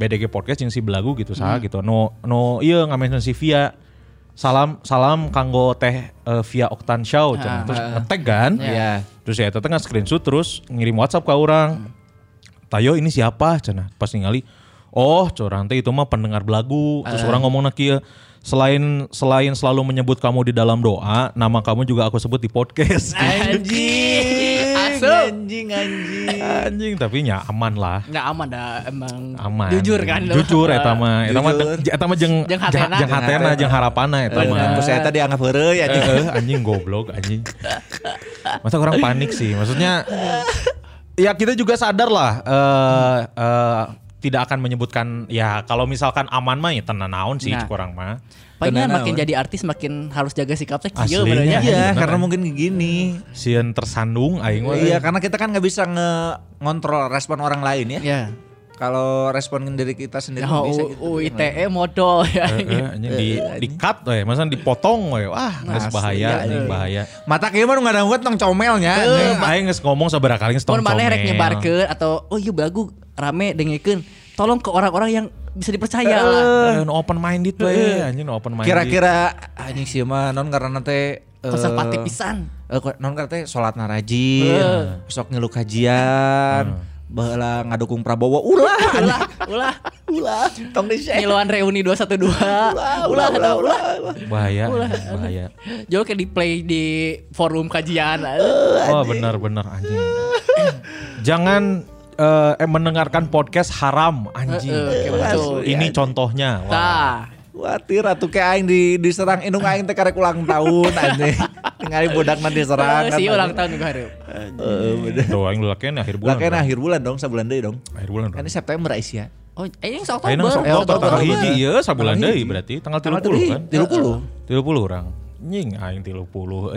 BDG podcast yang si belagu gitu sah gitu. No no iya ngamen si Via. Salam salam kanggo teh eh, Via Oktan Show cenah. terus ngetag kan.
Iya.
Terus ya teteh screenshot terus ngirim WhatsApp ke orang. Tayo ini siapa cenah? Pas ningali Oh, corang teh itu mah pendengar belagu. Terus orang ngomong kieu selain selain selalu menyebut kamu di dalam doa, nama kamu juga aku sebut di podcast.
Anjing. Asup.
Anjing anjing.
Anjing tapi nya aman lah.
Nggak aman dah emang.
Aman.
Jujur kan. lu.
Jujur ya, eta mah. Eta mah
Jujur.
eta mah jeung jeung
Jeung hatena. Iya.
jeung hatena jeung harapana eta
Bener,
mah.
terus saya tadi anggap heureuy anjing.
Eh, anjing goblok anjing. Masa orang panik sih. Maksudnya ya kita juga sadar lah eh eh, tidak akan menyebutkan ya kalau misalkan aman mah ya tenan naon sih
Nah.
kurang mah.
Palingan
Tenang,
makin
naon.
jadi artis makin harus jaga sikapnya
Aslinya.
kieu
Iya,
benernya.
Iya,
bener,
karena
kan?
mungkin gini.
Sieun tersandung aing mah. eh,
Iya, karena kita kan nggak bisa nge- ngontrol respon orang lain ya.
Ya.
Kalau respon diri kita sendiri
Ya,
nggak bisa
U-
gitu.
UITE modal ya.
Eh, eh, anjing di di cut we, masa dipotong we. Wah, geus
Iya, Asli,
bahaya
ya,
anjing
eh.
bahaya.
Mata kieu mah nu ngadangkeut tong comelnya.
Eh, aing geus ngomong sabaraha kali geus eh.
Mun
tong
maneh rek
comel.
nyebarkeun atau oh iya belagu rame dengekeun. Tolong ke orang-orang yang bisa dipercaya
Eh,
lah.
nu open minded we, anjing nu open minded.
Eh. Kira-kira anjing sih mah non karena teh eh,
Konservatif pisan.
eh, ko- non karena teh salat narajin, sok ngilu kajian, baheula ngadukung Prabowo. Ulah,
Ulah, ulah,
ulah, tong di share.
nyiluan reuni 212. Ulah, ulah, ulah, ulah.
bahaya, anjing, bahaya.
Jauh kayak di play di forum kajian.
Oh benar-benar anjing. Jangan eh, eh, mendengarkan podcast haram anjing.
Eh, eh, kayak gitu.
Ini contohnya.
Nah.
Wah.
Tah.
Khawatir atuh ke aing di diserang indung aing teh karek ulang tahun anjing. Ningali budakna diserang. kan,
Si ulang
anjing.
tahun juga hareup.
Heeh, bener.
Tuh aing lakian akhir bulan.
Lah
dong.
akhir bulan dong, sabulan deui dong.
akhir bulan.
Kan ini September Aisyah.
Oh, ini yang
Ayo
Oktober.
nang sok
Eh,
dokter
Oktober.
tanggal hiji
Oktober.
ya sabulan
Tanggal
deui
hiji.
berarti tanggal
Tanggal
30 kan.
30.
30 orang. Nying aing 30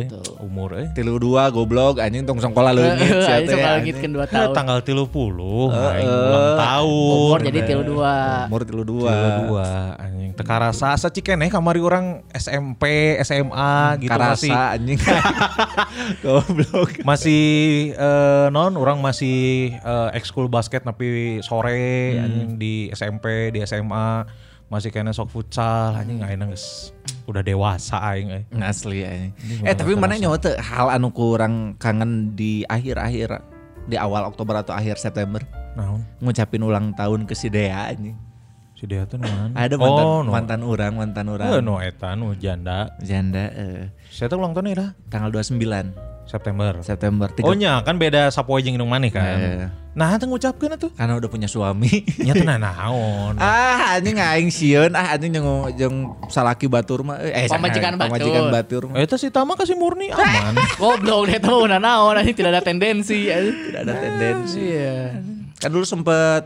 eh umur eh.
Tilu dua goblok anjing tong songkola leungit
Heeh,
sia
aing
teh,
sok
ya? anjing.
langit kan 2
Eh,
tahun.
tanggal 30
Eh,
aing ulang tahun.
Umur jadi tilu dua.
Umur tilu dua.
Tilu dua anjing teu karasa sacikeneh kamari orang SMP, SMA gitu
Karasa
masih
anjing. goblok.
masih eh, non orang masih eh, ekskul basket tapi sore
Hmm.
anjing di SMP di SMA masih kena sok futsal anjing
Hmm.
ayeuna geus udah dewasa aing eh.
Asli anjing. Eh tapi mana nyawa teu hal anu kurang kangen di akhir-akhir di awal Oktober atau akhir September
naon
ngucapin ulang tahun ke si Dea anjing.
Si dia tuh nu mana?
Ada mantan
oh, nu-
mantan orang, mantan orang.
Eh, nu eta nu janda.
Janda eh,
Saya tuh ulang tahun lah
tanggal 29
September.
September 3.
Oh nya kan beda sapoe jeung nu maneh kan.
Eh.
Nah, teu ngucapkeun atuh.
Karena udah punya suami.
Nya teu nah naon.
ah, anjing aing sieun, ah anjing jeung jeung salaki batur mah eh salaki-
Pamajikan batur.
pamajikan batur mah.
Eta si Tama Eh, kasih murni aman.
Goblok deh tuh nah naon anjing tidak ada tendensi.
Tidak ada tendensi.
Iya.
Kan dulu sempet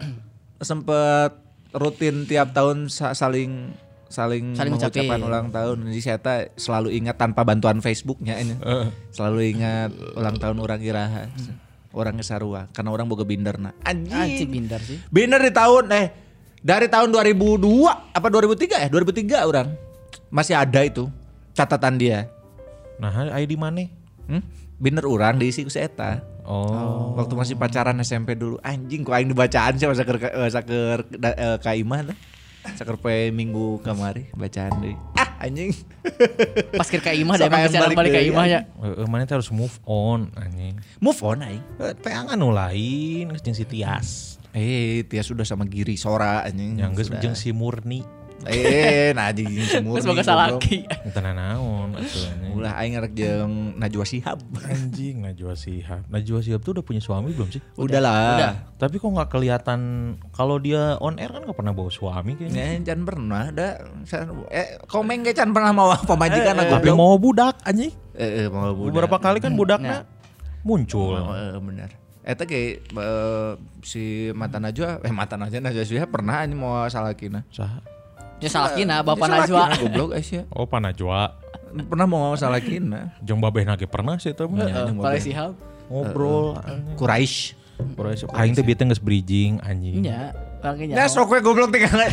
sempet rutin tiap tahun sa- saling saling,
Saling
mengucapkan
ngucapin.
ulang tahun. Jadi saya teh selalu ingat tanpa bantuan Facebooknya ini. Selalu ingat ulang tahun orang Iraha. Orang Sarua karena orang boga binder nah. na.
Anjing
Anjing.
bindar sih.
Binder di tahun eh dari tahun 2002 apa 2003 ya? 2003 orang. Masih ada itu catatan dia.
Nah, ID maneh?
Hmm? Binder orang diisi ku si eta.
Oh.
Waktu masih pacaran SMP dulu anjing ku aing dibacaan sih saker eh, saker da- eh, ka imah tuh. Saker pe minggu kamari bacaan deui. Ah anjing.
Pas kira ke imah
Sok
deh emang
ayam
kesalahan
balik
balik ke
deui,
imah ya.
Heeh, mana teh eh, harus move on anjing.
Move on aing.
Eh, Teh anu lain geus jeung si Tias.
Eh, Tia sudah sama Giri Sora anjing.
Yang Ya geus
Sudah.
jeung si Murni.
Eh, nah anjing semua.
Terus boga salaki.
Teu naon atuh anjing.
Ulah aing ngarek jeung Najwa Shihab.
Anjing Najwa Shihab. Najwa Shihab tuh udah punya suami belum sih?
udah.
Udahlah.
Tapi kok nggak kelihatan kalau dia on air kan nggak pernah bawa suami kayaknya.
Ya, can pernah ada eh komeng ge can pernah mau pemajikan aku
Tapi mau budak anjing.
Eh, eh, mau budak.
Beberapa kali kan budaknya muncul.
Oh, eh, benar. Eta kayak eh, si mata Najwa, eh mata Najwa Najwa Shihab pernah aja mau salah kina.
Sah.
Ya salah kina bapak
Salah
Najwa.
kina, Goblok Aisyah.
Oh Pak Najwa.
Pernah mau nah. salah kina.
Jeung babeh nage pernah sih teh mah.
Eh, Kalau sihab.
Ngobrol.
Quraisy.
Kurang- Aing teh bete geus bridging anjing.
Ya.
Ya
Orangnya
sok we goblok tinggal.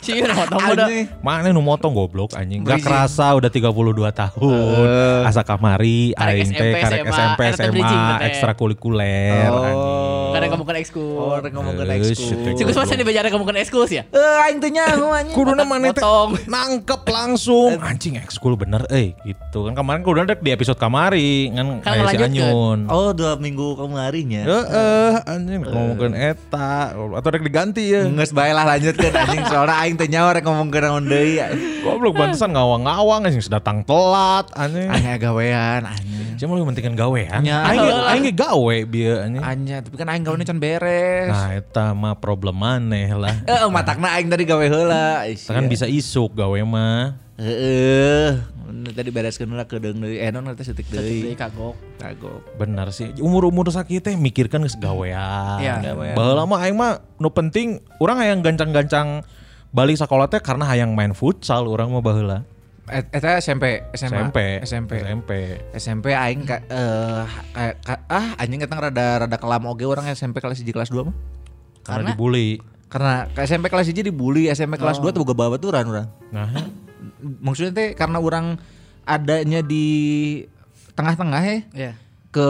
Sih udah motong udah.
Anjing.
Mana nu motong goblok anjing. Gak
Bridging.
kerasa udah 32 tahun. Asa kamari
Karek
aing teh
SMP,
karek
SMA,
SMP
RT bridging
SMA
teh.
ekstrakurikuler
Oh.
anjing.
Karena kamu kan ekskul.
Orang ngomong ke
Oh. Eh,
next
shit, eh.
Si Gus Mas yang dibajar kamu kan ekskul sih ya.
Eh aing teh nyaho anjing.
Kuduna mana teh
Potong.
nangkep langsung anjing ekskul bener eh gitu kan kemarin kuduna dek di episode kamari kan
Kan
kayak si
ngelanjutkeun.
Anyun.
Oh, dua minggu ya. kemarinnya.
Heeh, anjing ngomongin eta atau dek diganti ya.
Nges bae lah lanjutkeun anjing soalnya aing teh nyaho rek ngomong ke naon deui.
Goblok bantesan ngawang-ngawang anjing sedatang telat anjing.
Anjing gawean anjing.
Cuma lu pentingkan gawe ya.
Nya.
Aing aing ge gawe bieu anjing.
Anjing, tapi kan aing gawean can beres.
Nah, eta mah problem maneh lah.
Eh, matakna aing tadi gawe heula.
Oh,
Ih,
Kita kan
iya.
sia.
bisa isuk gawe mah.
Heeh. Mun tadi bereskeun lah kedeung deui. Eh, non eta seutik
Jadi
deui.
kagok.
Kagok.
Benar sih. Umur-umur sakit teh mikirkan geus gawean.
Iya.
Gawean. Baheula mah aing mah nu penting urang hayang gancang-gancang balik sekolah teh karena hayang main futsal urang mah baheula.
Et- Eta SMP, SMA,
SMP.
SMP.
SMP.
SMP aing ka, eh, ka- ka- ah anjing eta rada rada kelam oge orang SMP kelas 1 kelas 2 mah.
Karena,
Karena-
dibully.
Karena ke SMP kelas 1 dibully, SMP kelas 2 tuh boga babaturan urang.
Nah,
Maksudnya teh karena orang adanya di tengah-tengah ya
Iya.
ke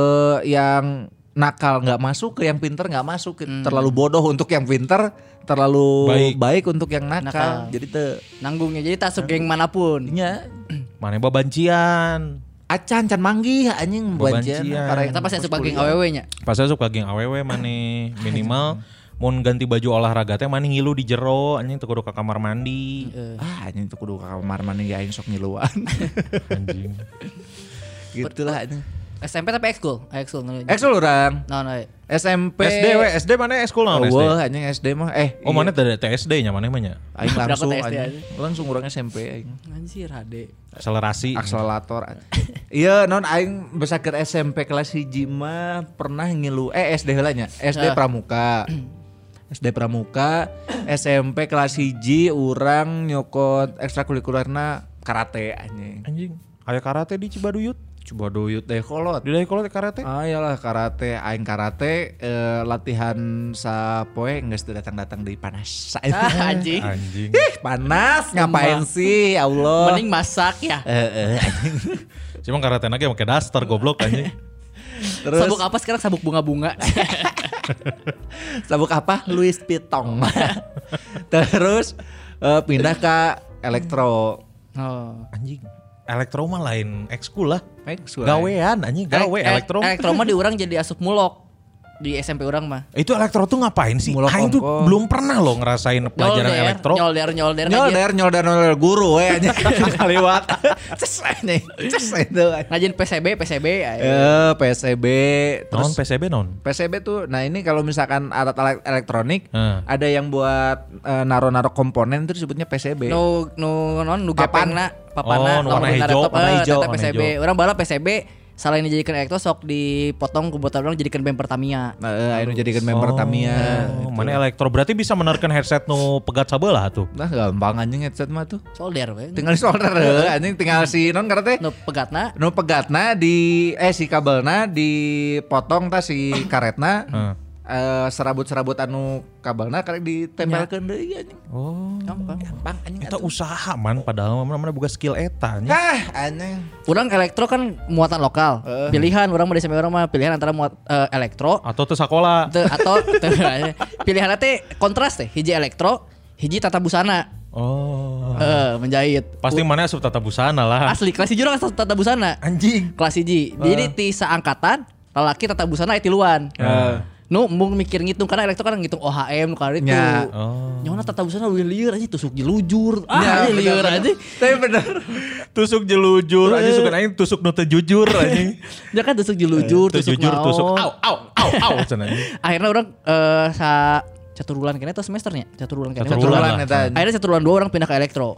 yang nakal nggak masuk ke yang pinter nggak masuk
Hmm.
terlalu bodoh untuk yang pinter terlalu
Baik.
baik, untuk yang nakal,
Nakal.
jadi teh
Nanggungnya jadi tak geng manapun.
nya
mana babancian.
acan can manggih ya, anjing
Bebancian.
banjian para yang
Kita pas suka geng
kuliah.
aww nya.
Pas asup ka geng awewe maneh minimal mau ganti baju olahraga teh maneh ngilu di jero anjing teu kudu ka kamar mandi.
Iya.
ah anjing tuh kudu ke kamar mandi ya aing sok ngiluan
Anjing.
gitu lah anjing Eh,
SMP tapi ekskul. Eh, Ekskul.
eksul orang
No iya. no.
SMP
SD we, SD mana ekskul naon SD?
Wah, Oh, anjing SD mah eh
Oh,
iya.
mana teh TSD nya mana mah nya?
aing langsung
Berangkat SD
anjing. langsung orang SMP aing
Anjir HD.
Akselerasi.
akselerator iya non aing besar SMP kelas hiji mah pernah ngilu eh SD heula nya SD
Ah.
Pramuka SD Pramuka SMP kelas hiji urang nyokot ekstrakurikulerna karate anjing
Anjing, aya karate di Cibaduyut.
coba doyut deh kolot
Di kalau karate.
Ah iyalah karate, aing karate eh, latihan sapoe nggak sudah datang datang di panas.
Ah, anjing.
Anjing. Eh,
Ih, panas ngapain sih ya
Oh.
Allah?
Mending masak ya.
Eh, eh, anjing.
Cuma karate lagi pakai daster goblok anjing.
Terus
Sabuk apa sekarang sabuk bunga-bunga.
Sabuk apa? Louis Pitong. Terus eh, pindah ke elektro.
oh.
Anjing. Elektro mah lain ekskul lah.
Gawe. ya.
Gawean anjing, gawe
Elek- elek-
elektro.
Elektro mah diurang jadi asup mulok. di SMP orang mah.
Itu elektro tuh ngapain sih?
Mulak
Aing tuh
ongkos.
belum pernah loh ngerasain pelajaran
Nyolder,
elektro.
Nyolder, nyolder, ngajian,
Nyolder, nyolder, nyolder guru we anjing. Kaliwat. Ces anjing. Ces itu. anjing.
ngajian PCB, PCB. ay.
Eh, PSB
Non
terus
PCB non.
PCB tuh, nah ini kalau misalkan alat alat elektronik,
Hmm.
ada yang buat eh, naro-naro komponen itu disebutnya PCB.
Nu nu non nu
Papan.
gepengna, papana,
Oh, nu warna
lamun benar
hijau,
laptop,
warna
eh,
hijau,
tata
warna
PCB.
hijau.
Orang bala PCB salain dijadikan elektro sok dipotong ku botol orang jadikan bem Pertamina.
Nah, eh, anu jadikan member Tamiya.
Oh, mana elektro berarti bisa menerkan headset nu pegat sabelah tuh.
Nah, gampang anjing headset mah tuh.
Solder we.
Tinggal
Hmm.
di solder eh, anjing tinggal si non karena teh
Nu pegatna
nu pegatna di eh si kabelna dipotong tah si karetna.
Hmm.
eh, serabut-serabut anu kabelna karek ditempelkeun deui anjing.
Oh.
gampang.
Bang anjing.
Itu usaha man padahal mana-mana boga skill eta nya.
Ah, anjing.
Orang elektro kan muatan lokal. Pilihan orang mah di SMP orang mah pilihan antara muat eh, elektro
Atau teu sakola.
teu- atau teu- pilihan teh kontras teh hiji elektro, hiji tata busana.
Oh.
Eh, menjahit.
Pasti mana asup tata busana lah.
Asli kelas hiji orang tata busana.
Anjing.
kelas hiji. Jadi ti saangkatan lalaki tata busana itu luan.
Ah.
Nu mung mikir ngitung karena elektro kan ngitung OHM nu kali itu.
Nya.
Oh.
Nyona tata busana wih lieur aja tusuk jelujur. Ah,
Ya,
ya, lieur
bener-bener.
aja.
Tapi bener.
Tusuk jelujur anjing suka aing tusuk nu teu Eh. jujur anjing.
Ya kan tusuk jelujur,
Teu
tusuk
jujur
naon.
tusuk au au au au cenah.
Akhirnya orang eh sa catur bulan kena atau semesternya? Catur bulan kena.
Catur
Satu
bulan
bulan
lah.
eta. anjing.
Akhirnya catur bulan dua orang pindah ke elektro.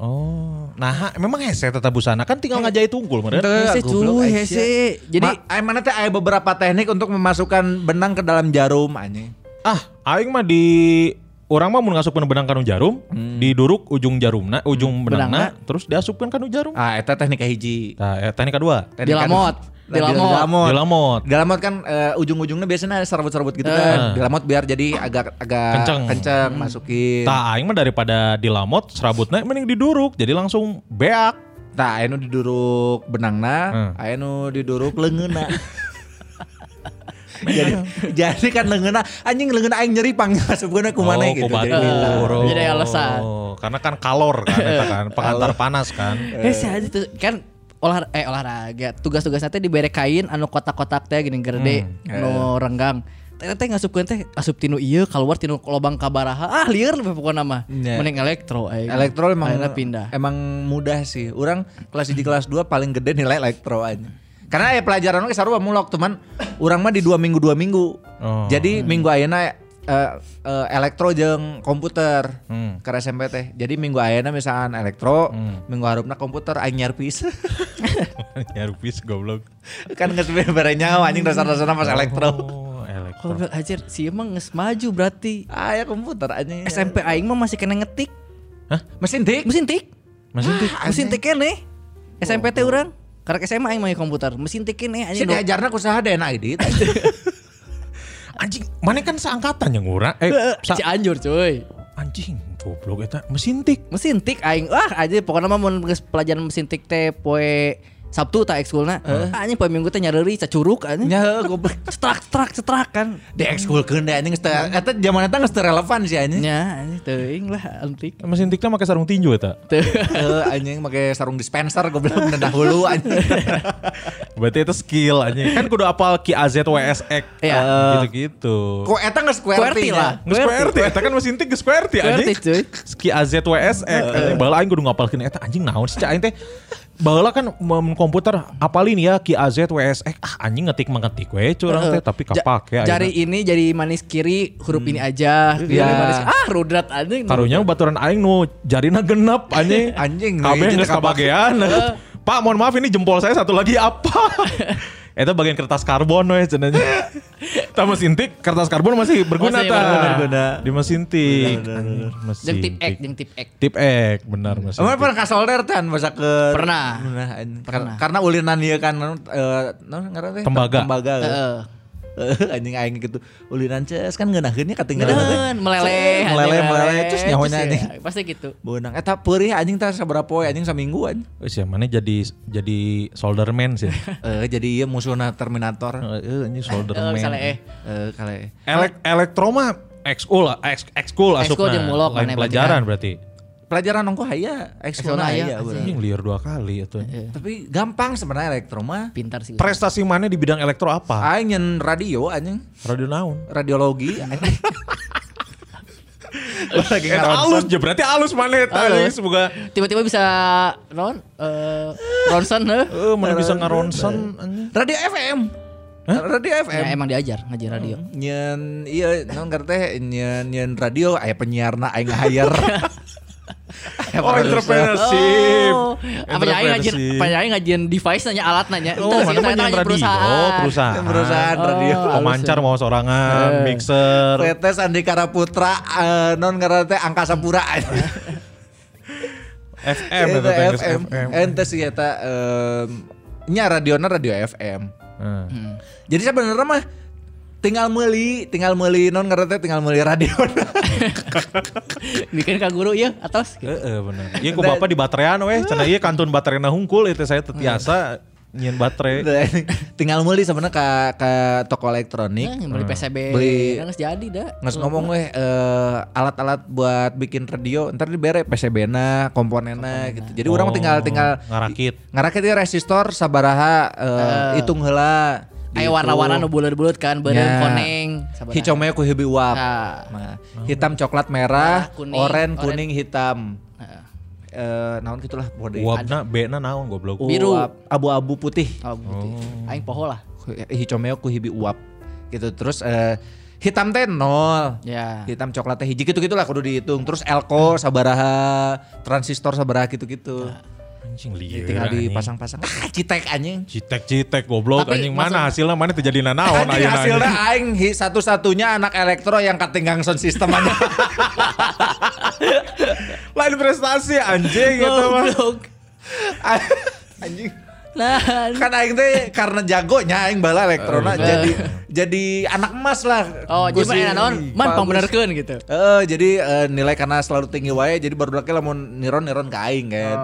Oh. Nah, memang hese tata busana kan tinggal ngajahit unggul meureun.
Teu, Ah,
Hese,
goblok,
Eh, cuy,
Aisyah.
hese. Jadi-
Ma- ay, mana teh ada beberapa teknik untuk memasukkan benang ke dalam jarum anjing.
Ah, aing mah di orang mah mun ngasupkeun benang kanu jarum, diduruk ujung jarumna, ujung Hmm. benangna, terus diasupkeun kanu jarum.
Ah, eta teknik hiji.
Nah, eh, teknik kedua.
Teknik
Dilamot.
anu-
Dilamot.
Dilamot.
Dilamot.
Dilamot kan eh, ujung-ujungnya biasanya ada serbut-serbut gitu kan. Dilamot biar jadi agak agak
Kenceng.
kenceng masukin.
Tah aing mah daripada dilamot serabutnya mending diduruk, jadi langsung beak.
Nah, aya nu diduruk benangna,
Hmm.
aya nu diduruk leungeuna. jadi jadi kan leungeuna anjing leungeuna aing nyeri pangasupkeuna kumaha
ku
gitu. Jadi
batur.
gitu.
Jadi ada alasan.
Oh, Karena kan kalor kan, eta kan pengantar panas kan.
Hese aja tuh kan olah eh olahraga tugas-tugas nanti dibere kain anu kotak-kotak teh gini
Hmm,
gerde anu renggang teh teh ngasupkeun teh asup tinu ieu keluar tinu lobang kabaraha ah lieur we pokona mah
Nya.
mending elektro aing
Elektro emang
Akhirnya pindah
Emang mudah sih. Orang kelas di kelas 2 paling gede nilai elektro aja. Karena ya pelajaran oke sarua mulok teman. Orang mah di dua minggu dua minggu.
Oh.
Jadi minggu ayeuna eh, eh, elektro jeung komputer
Hmm.
ke SMP teh. Jadi minggu ayeuna misalkan elektro, minggu harupna komputer aing nyar pisan.
ya rupis goblok.
kan geus bare nyawa anjing dasar-dasarna pas elektro.
Oh, elektro.
kalau hajar si emang geus maju berarti
Aya Ah, ya komputer anjing.
SMP aing mah masih kena ngetik
mesin dik.
mesin tik
Mesin tik.
Ah, mesin tik keneh
Oh.
SMP teh urang karek SMA aing mah komputer mesin tik keneh
Sih
anjing dua-
diajarna kusaha DNA ID.
Anjing, mana kan seangkatan yang ngurang? Eh, sa-
si anjur cuy
anjing, goblok eta mesin tik.
mesin tik aing wah aja pokoknya mah mun geus pelajaran mesin tik teh poe Sabtu tak ekskulna Ah, anjing poe Minggu teh nyareuri cacuruk anjing
Nya heuh, goblok.
cetrak cetrak cetrak kan
diekskulkeun deh anjing geus teu eta zaman eta geus teu relevan sih anjing.
nya anjing teuing lah antik
Mesin tiknya pakai sarung tinju eta.
teu
Heuh, anjing make sarung dispenser goblok nedah hulu anjing.
Berarti itu skill anjing. Kan kudu apal Ki AZ WSX.
Iya.
Eh, Gitu-gitu.
Kok eta geus
QWERTY
QWERTY
lah.
lah.
Nges QWERTY, eta kan mesin tik nges QWERTY anjing.
QWERTY, cuy.
Ki AZ WSX. eh, Anjing bala aing kudu ngapalkeun eta anjing naon sih Cak, aing teh. Bala kan mem- komputer apalin ya Ki AZ WSX. Ah anjing ngetik mengetik we curang teh tapi ya, kapake aing.
jari ini jadi manis kiri huruf ini aja jari
Iya.
manis ah rudrat anjing
Karunya baturan aing nu jarina genep anjing.
Anjing,
Kabeh
hiji
geus
teu kapake.
kabagean. Pak, mohon maaf ini jempol saya satu lagi apa? Itu bagian kertas karbon weh cenanya. Tah mesin tik kertas karbon masih berguna
Masih
tah.
berguna.
Di mesin tik. Mesin
jeung tip X
tik.
jeung tip X
Tip X, benar mesin.
Emang
tik.
pernah ka solder tan masa ke
Pernah.
Pernah. anjing. Kar- Karena ulinan ieu kan eh naon ngaran teh?
Tembaga.
Tembaga.
Heeh.
Eh, anjing aing gitu. Ulinan ceus kan ngeunahkeun nya katinggalan.
Ngedeun, meleleh anjing,
Meleleh meleleh terus nyahonya
Terus
anjing.
ya, pasti gitu
Beunang eta peurih anjing tah sabaraha poe anjing saminggu anjing.
Wih, sih, mana jadi jadi solderman sih.
Eh jadi ieu musuna Terminator.
Eh, ini
Eh,
solderman.
misalnya eh
Eh kale.
Elek elektroma ekskul lah, eks- ekskul
Ekskul
asupna.
jeung mulok
Lain
mana berarti
pelajaran berarti.
pelajaran nongko haya ekskul
Ekskul na
haya
aya,
bener.
Anjing liar dua kali itu.
Iya,
tapi gampang sebenarnya elektroma
Pintar sih.
Prestasi mana di bidang elektro
Ah.
apa?
aing nyen radio anjing
Radio naon?
radiologi anjing. lagi
Eh,
Eta
ngaronsen.
alus je, berarti alus mana eta
Alus.
anjing, semoga
Tiba-tiba bisa non eh Ronson heh.
eh mana bisa ngaronsen anjing.
radio FM radio FM
Ya, emang diajar ngaji radio.
nyen iya non ngerti nyen nyen radio aya penyiarna aing hire Aya
Oh,
produser.
entrepreneurship.
Oh, Apa nyai ngajian, apa nyai ngajian device nanya alat nanya.
Oh, mana
Itu sih,
mah
ternyata
yang
ngajian
radio, perusahaan. Oh.
Yang perusahaan radio
Pemancar mau
Eh.
sorangan, mixer.
Tetes Andika Raputra eh, non ngerti angkasa pura
FM
Eta
eta teh, geus
FM
FM.
ente sih eta em, nya radiona radio FM
Heeh.
jadi sebenarnya mah tinggal meli tinggal meli non ngerti tinggal meli radiona
Bikin ka guru ya atas.
Heeh bener. Ieu ku bapak di baterean weh, cenah ieu kantun baterena hungkul itu saya tetiasa nyian baterai.
tinggal meli sebenarnya ke ke toko elektronik
Nah, beli PCB,
Beli-
Kan nggak jadi dah.
Nges ngomong weh eh, alat-alat buat bikin radio ntar dibere PCB-na, komponenna gitu. Jadi orang
Oh,
tinggal tinggal
ngarakit.
ngarakit ieu resistor sabaraha eh, hitung heula.
Ayo warna-warna nu bulat-bulat kan, beureum koneng. sabar.
Gitu. Hijau meh ku hibi uap.
Nah.
Nah, hitam coklat merah,
Merah, kuning,
oren
oren.
kuning hitam.
Heeh.
Eh naon gitulah body.
Uapna, B-na naon goblok.
Biru.
abu-abu putih.
Kalau putih. Oh, gitu. Aing poho lah.
Hijau meh ku hibi uap. Gitu terus eh, hitam teh nol.
Ya.
hitam coklat teh hiji gitu gitulah kudu dihitung terus elko sabaraha transistor sabaraha gitu gitu
Ya.
Anjing liar.
tinggal
anjing.
dipasang-pasang ah, citek anjing
Citek-citek goblok
Tapi
anjing
maksud-
mana hasilnya mana terjadi nanaon
Anjing
ayeuna
hasilnya
anjing.
aing hi- satu-satunya anak elektro yang ketinggang sound system anjing.
Lain prestasi anjing gitu mah.
Goblok.
anjing.
Nah,
Kan aing teh karena jagonya aing bala
Eh.
elektrona
Bener.
jadi jadi anak emas lah.
oh jadi
Kusi
mana naon? Man
bagus.
pambenerkeun gitu.
Heeh, jadi eh, nilai karena selalu tinggi wae jadi baru laki lamun niron-niron ke aing kan.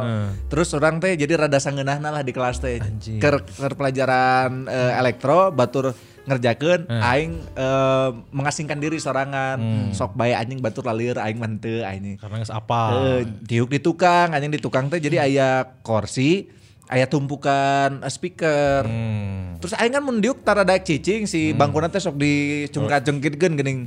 Terus orang teh jadi rada sangeunahna lah di kelas teh. Ker, ker pelajaran eh, elektro batur ngerjakeun aing eh, mengasingkan diri sorangan. Sok bae anjing batur lalieur aing manteu anjing.
Karena geus apa?
Eh, diuk di tukang, anjing di tukang teh jadi aya kursi, aya tumpukan eh, speaker. Terus aing kan mun diuk tara daek cicing si bangkuna teh sok dicungkat-cungkitkeun geuning.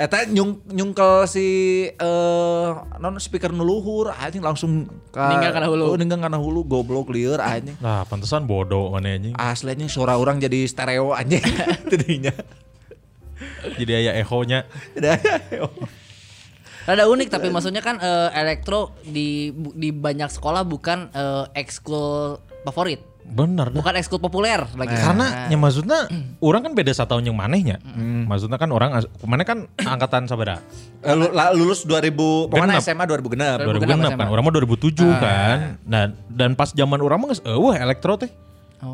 Eta nyung nyungkel si eh non speaker nu luhur anjing langsung ka-
Ninggal kana hulu.
Oh, ninggal kana hulu goblok lieur anjing.
Nah, pantesan bodoh mana anjing.
Asli anjing suara orang jadi stereo anjing tadinya.
Jadi aya ehonya.
Rada unik tapi maksudnya kan eh, elektro di bu- di banyak sekolah bukan eh, ekskul favorit.
Bener dah.
Bukan ekskul populer lagi.
Eh. Karena yang maksudnya orang kan beda satu tahun yang manehnya. Maksudnya kan orang as- mana kan angkatan sabada
Eh, lu- la- lulus 2000
Genep.
pokoknya SMA
2006
2006.
kan.
SMA.
Orang mah 2007 kan. Nah, dan pas zaman orang mah geus eueuh elektro teh.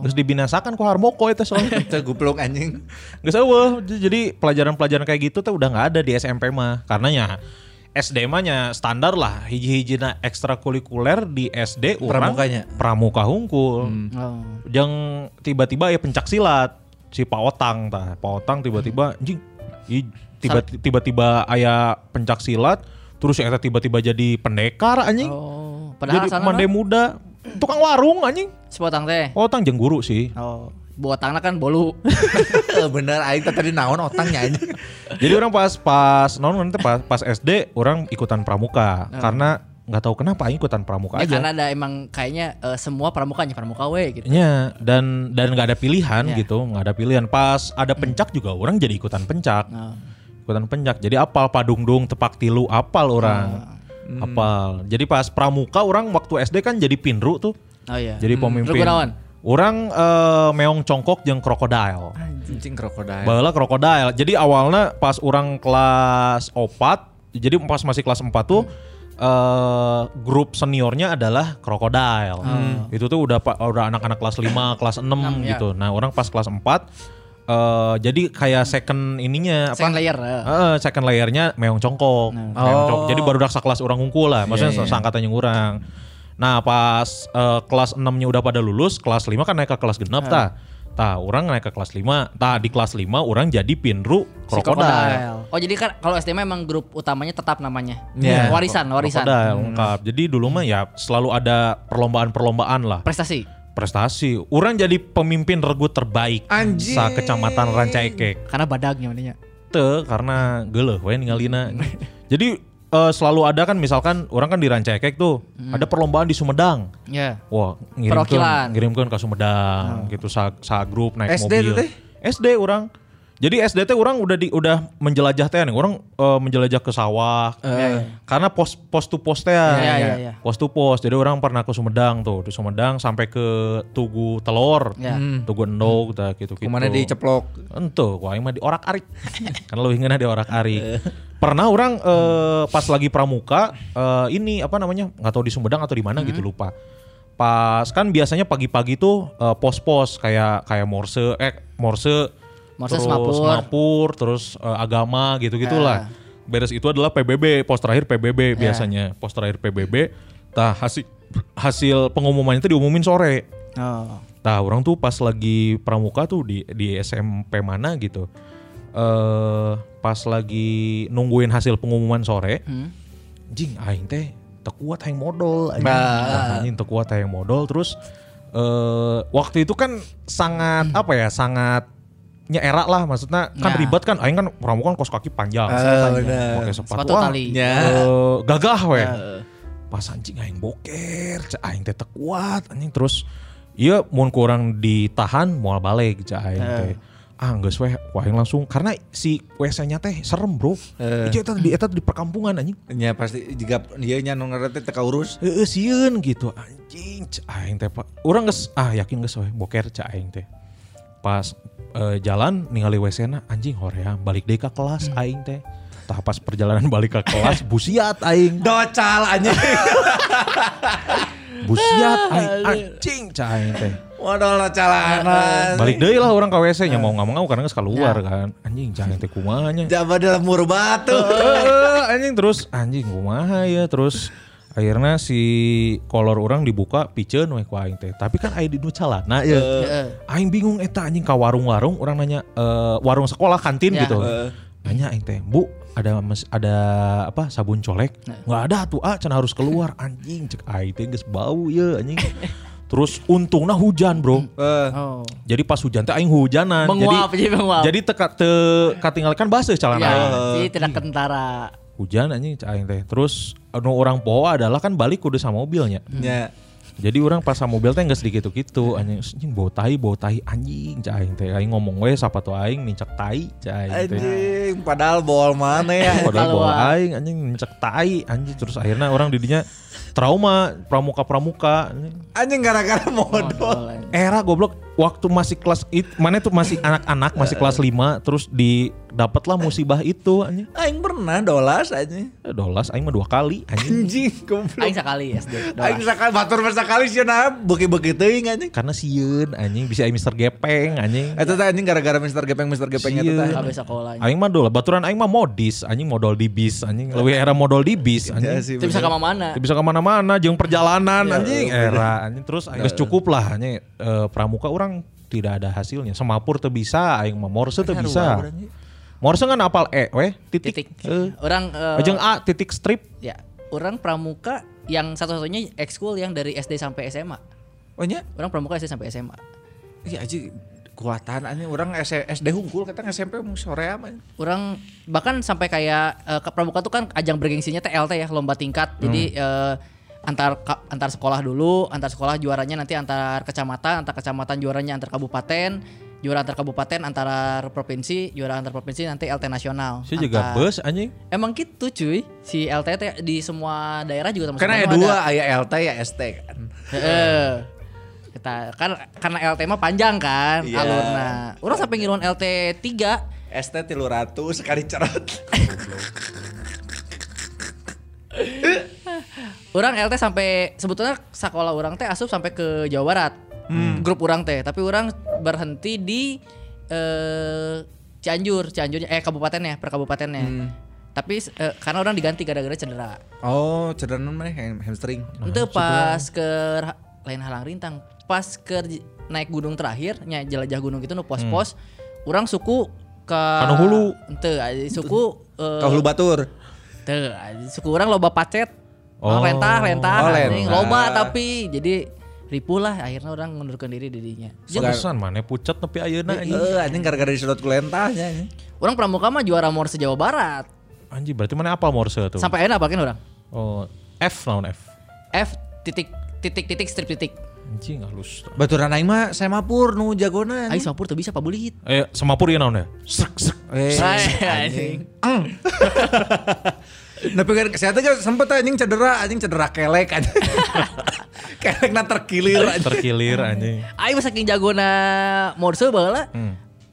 Geus dibinasakan ku Harmoko eta soalnya.
Teu guplung anjing.
Geus eueuh. J- Jadi pelajaran-pelajaran kayak gitu teh udah nggak ada di SMP mah. Karena ya SD mah nya standar lah hiji-hijina ekstrakurikuler di SD orang
Pramukanya.
pramuka hungkul.
Oh.
yang tiba-tiba ya pencak silat si Pak Otang tah. Pak Otang tiba-tiba anjing i- tiba tiba-tiba aya pencak silat terus ya eta tiba-tiba jadi pendekar anjing.
Oh, padahal
jadi
asalna
mande
non,
muda, tukang warung anjing.
sepotong teh.
Otang jeung guru sih.
Oh, buatannya kan bolu.
Bener aing teh tadi naon otangnya anjing.
Jadi orang pas pas non nanti pas pas SD orang ikutan pramuka karena nggak tahu kenapa aing ikutan pramuka
Nah. ya,
aja.
karena ada emang kayaknya eh, semua pramukanya pramuka we gitu.
Ya, dan dan nggak ada pilihan
Ya.
gitu, nggak ada pilihan. Pas ada pencak juga orang jadi ikutan pencak,
Oh.
ikutan pencak. Jadi apal padungdung tepak tilu apal
Nah.
orang, apal. Jadi pas pramuka orang waktu SD kan jadi pinru tuh,
Oh iya.
jadi pemimpin.
Lu kunaon?
Orang eh, meong congkok jeung krokodil.
Anjing krokodil.
Bala krokodil. Jadi awalnya pas orang kelas opat, jadi pas masih kelas 4 tuh eh, grup seniornya adalah krokodil. Itu tuh udah pa- udah anak-anak kelas 5, kelas 6
Hmm. Enam, ya.
gitu. Nah, orang pas kelas 4 eh, jadi kayak second ininya apa?
Second layer. eh.
Heeh, second layernya meong congkok. Iya, Meong congkok. Jadi baru daksa kelas orang unggul lah, maksudnya seangkatan yang orang. Nah, pas eh, kelas 6-nya udah pada lulus, kelas 5 kan naik ke kelas genap tah. Tah, orang naik ke kelas 5. Tah, di kelas 5 orang jadi pinru krokodil.
Oh jadi kan kalau SDM emang grup utamanya tetap namanya.
Iya.
Warisan, warisan.
Krokodil, lengkap. Jadi dulu mah ya selalu ada perlombaan-perlombaan lah.
Prestasi.
Prestasi. Orang jadi pemimpin regu terbaik
Anjing.
sa kecamatan Rancaikek.
Karena badagnya mananya.
Teu karena geuleuh we ninggalina. Jadi eh, selalu ada kan misalkan orang kan di Rancaikek tuh ada perlombaan di Sumedang.
Ya.
Wah, ngirimkan
Perwakilan.
ngirimkan ke Sumedang gitu sa, sa grup naik
SD
mobil.
tuh teh?
SD orang. Jadi SD teh orang udah di udah menjelajah teh nih. Orang eh, menjelajah ke sawah. Karena pos pos to pos teh. ya.
iya, iya, iya.
Pos to pos. Jadi orang pernah ke Sumedang tuh, di Sumedang sampai ke Tugu Telor.
Iya.
Tugu Endog tah gitu-gitu.
Kemana diceplok?
Entuh, wah mah diorak-arik. kan leuwih ngeunah diorak-arik. Pernah orang eh, pas lagi pramuka eh, ini apa namanya? nggak tahu di Sumedang atau di mana gitu
Hmm.
lupa. Pas kan biasanya pagi-pagi tuh eh, pos-pos kayak kayak Morse eh Morse
Morse,
terus
Semapur. Ah.
Semapur, terus eh, agama gitu-gitulah. Beres itu adalah PBB, pos terakhir PBB
Iya.
biasanya. Pos terakhir PBB. Tah hasil hasil pengumumannya itu diumumin sore.
Oh.
Nah orang tuh pas lagi pramuka tuh di di SMP mana gitu. Eh pas lagi nungguin hasil pengumuman sore. Jing aing teh tekuat aing modal anjing. Nah, anjing tekuat aing modal terus eh waktu itu kan sangat apa ya sangat nyerak lah maksudnya kan
Ya.
ribet kan aing kan pramuka kan kos kaki panjang.
Ah, bener.
Pakai sepatu,
Sepatu
ah,
tali.
Iya, Oh.
Eh, gagah we. Pas anjing aing boker, cek aing teh teu kuat anjing terus iya mun kurang ditahan moal balik cek aing teh. Ah geus weh, ku aing langsung karena si WC-nya teh serem, Bro.
Eh.
Ieu eta di eta di perkampungan anjing.
Nya iya, pasti juga dia nya nu ngarete teka urus.
Heeh sieun gitu anjing cek aing teh Pak. Urang geus ah yakin geus weh boker cek aing teh. Pas eh, jalan ningali WC-na anjing hoream balik deui ka kelas aing teh. Tah pas perjalanan balik ke kelas busiat aing.
Docal anjing.
Busiat aing anjing cah aing teh.
Waduh docal anak.
Balik deui lah orang ke WC nya mau nggak mau karena geus keluar kan. Anjing cah aing teh kumanya.
Jabat dalam mur batu.
Eh, anjing terus anjing kumaha ya terus akhirnya si kolor orang dibuka piceun we ku aing teh. Tapi kan aing di nu calana ya.
Heeh.
Aing bingung eta anjing ka warung-warung orang nanya eh, warung sekolah kantin
Ya.
gitu. Nanya aing teh, "Bu, ada mes- ada apa sabun colek?"
Nah.
nggak ada tuh, ah, cenah harus keluar anjing cek aing teh geus bau ya anjing. Terus untungnya hujan, Bro.
Eh,
Oh.
Jadi pas hujan teh aing hujanan.
Menguap
jadi
jadi menguap.
jadi teka te katinggalkan baseuh calana
ya,
aing.
jadi tidak kentara.
Hujan anjing cek aing teh. Terus anu orang poa adalah kan balik kudu sama mobilnya.
nya.
Jadi orang pas sama mobil teh geus dikitu-kitu anjing anjing bau tai bau tai anjing cek aing teh. Aing ngomong we sapatu aing mincak tai cek
Gitu ya.
aing teh.
Anjing, padahal bol mana ya?
Padahal bawa
Keluar.
aing anjing mincak tai anjing terus akhirnya orang didinya trauma pramuka-pramuka anjing.
Anjing gara-gara modal.
Boleh.
era goblok waktu masih kelas it, mana tuh masih anak-anak masih kelas 5 terus di dapatlah musibah itu anjing
Aing pernah dolas anjing.
Eh, dolas aing mah dua kali anjing
Anjing, goblok.
Aing sekali ya, SD.
Aing
doang.
sakali batur mah sakali sieun ah, beuki-beuki teuing anjing.
karena sieun anjing bisa aing Mister Gepeng anjing
Eta teh anjing gara-gara Mr. Gepeng Mr. Gepeng eta teh.
Habis sekolah.
aing mah dolah baturan aing mah modis anjing modal di bis anjing lebih era modal di bis
Ya
anjing
sih,
Itu bisa ke
bener.
mana?
Teu bisa kemana-mana jeung perjalanan anjing era anjing terus aing geus cukup lah anjing Eh, pramuka orang tidak ada hasilnya semapur teu bisa aing mah morse teu bisa morse kan apal e weh titik,
Titik.
Eh.
Orang eh,
Ajeng A titik strip
ya, orang pramuka yang satu-satunya ekskul yang dari SD sampai SMA.
Oh nya,
Orang pramuka SD sampai SMA.
iya anjing kuatan anjing orang S- SD hungkul kata SMP mung sore aman.
Orang bahkan sampai kayak eh, ke pramuka tuh kan ajang bergengsinya TLT ya, lomba tingkat. Jadi eh,
Hmm.
antar ka- antar sekolah dulu, antar sekolah juaranya nanti antar kecamatan, antar kecamatan juaranya antar kabupaten, juara antar kabupaten antar provinsi, juara antar provinsi nanti LT nasional.
Saya juga
Antar-
bus anjing.
Emang gitu cuy, si LT teh di semua daerah juga termasuk
Karena ya
Bandung
dua, aya LT ya ST kan.
Heeh. Kita kan karena LT mah panjang kan
Iya.
alurna. Orang sampai ngiluan LT 3
ST 300 sekali cerot.
Orang LT sampai sebetulnya sekolah orang teh asup sampai ke Jawa Barat. Grup orang teh, tapi orang berhenti di eh Cianjur, Cianjurnya eh kabupatennya, per kabupatennya. Tapi eh, karena orang diganti gara-gara cedera.
Oh, cedera mana ham- hamstring.
Itu pas ke ra- lain halang rintang, pas ke naik gunung terakhir nya jelajah gunung gitu nu pos-pos urang suku ke
Kanu hulu.
Teu, anjing, suku eh,
Kau lu batur.
Teu, anjing, suku orang loba pacet.
Oh.
Oh, rentah, rentah,
Oh,
anjing.
rentah.
loba tapi jadi ripuh lah akhirnya orang mengundurkan diri dirinya.
Susan mana pucat tapi
Iya,
ayeuna anjing.
Eh, anjing gara-gara disedot ku lentahnya. anjing.
Orang pramuka mah juara morse Jawa Barat.
Anjing berarti mana apa Morse tuh?
Sampai enak apa kan orang?
Oh, F lawan F.
F titik titik titik strip titik.
Anjing halus.
Baturan aing mah semapur nu jagona.
Ayo
anjing.
Singapura tuh bisa pabulit.
Eh, semapur ya naon ya? Srek srek.
Eh,
anjing.
Tapi kan kesehatan kan sempet anjing cedera, anjing cedera kelek anjing. kelek na terkilir anjing.
Terkilir anjing.
Aing mah saking jagona morse baheula.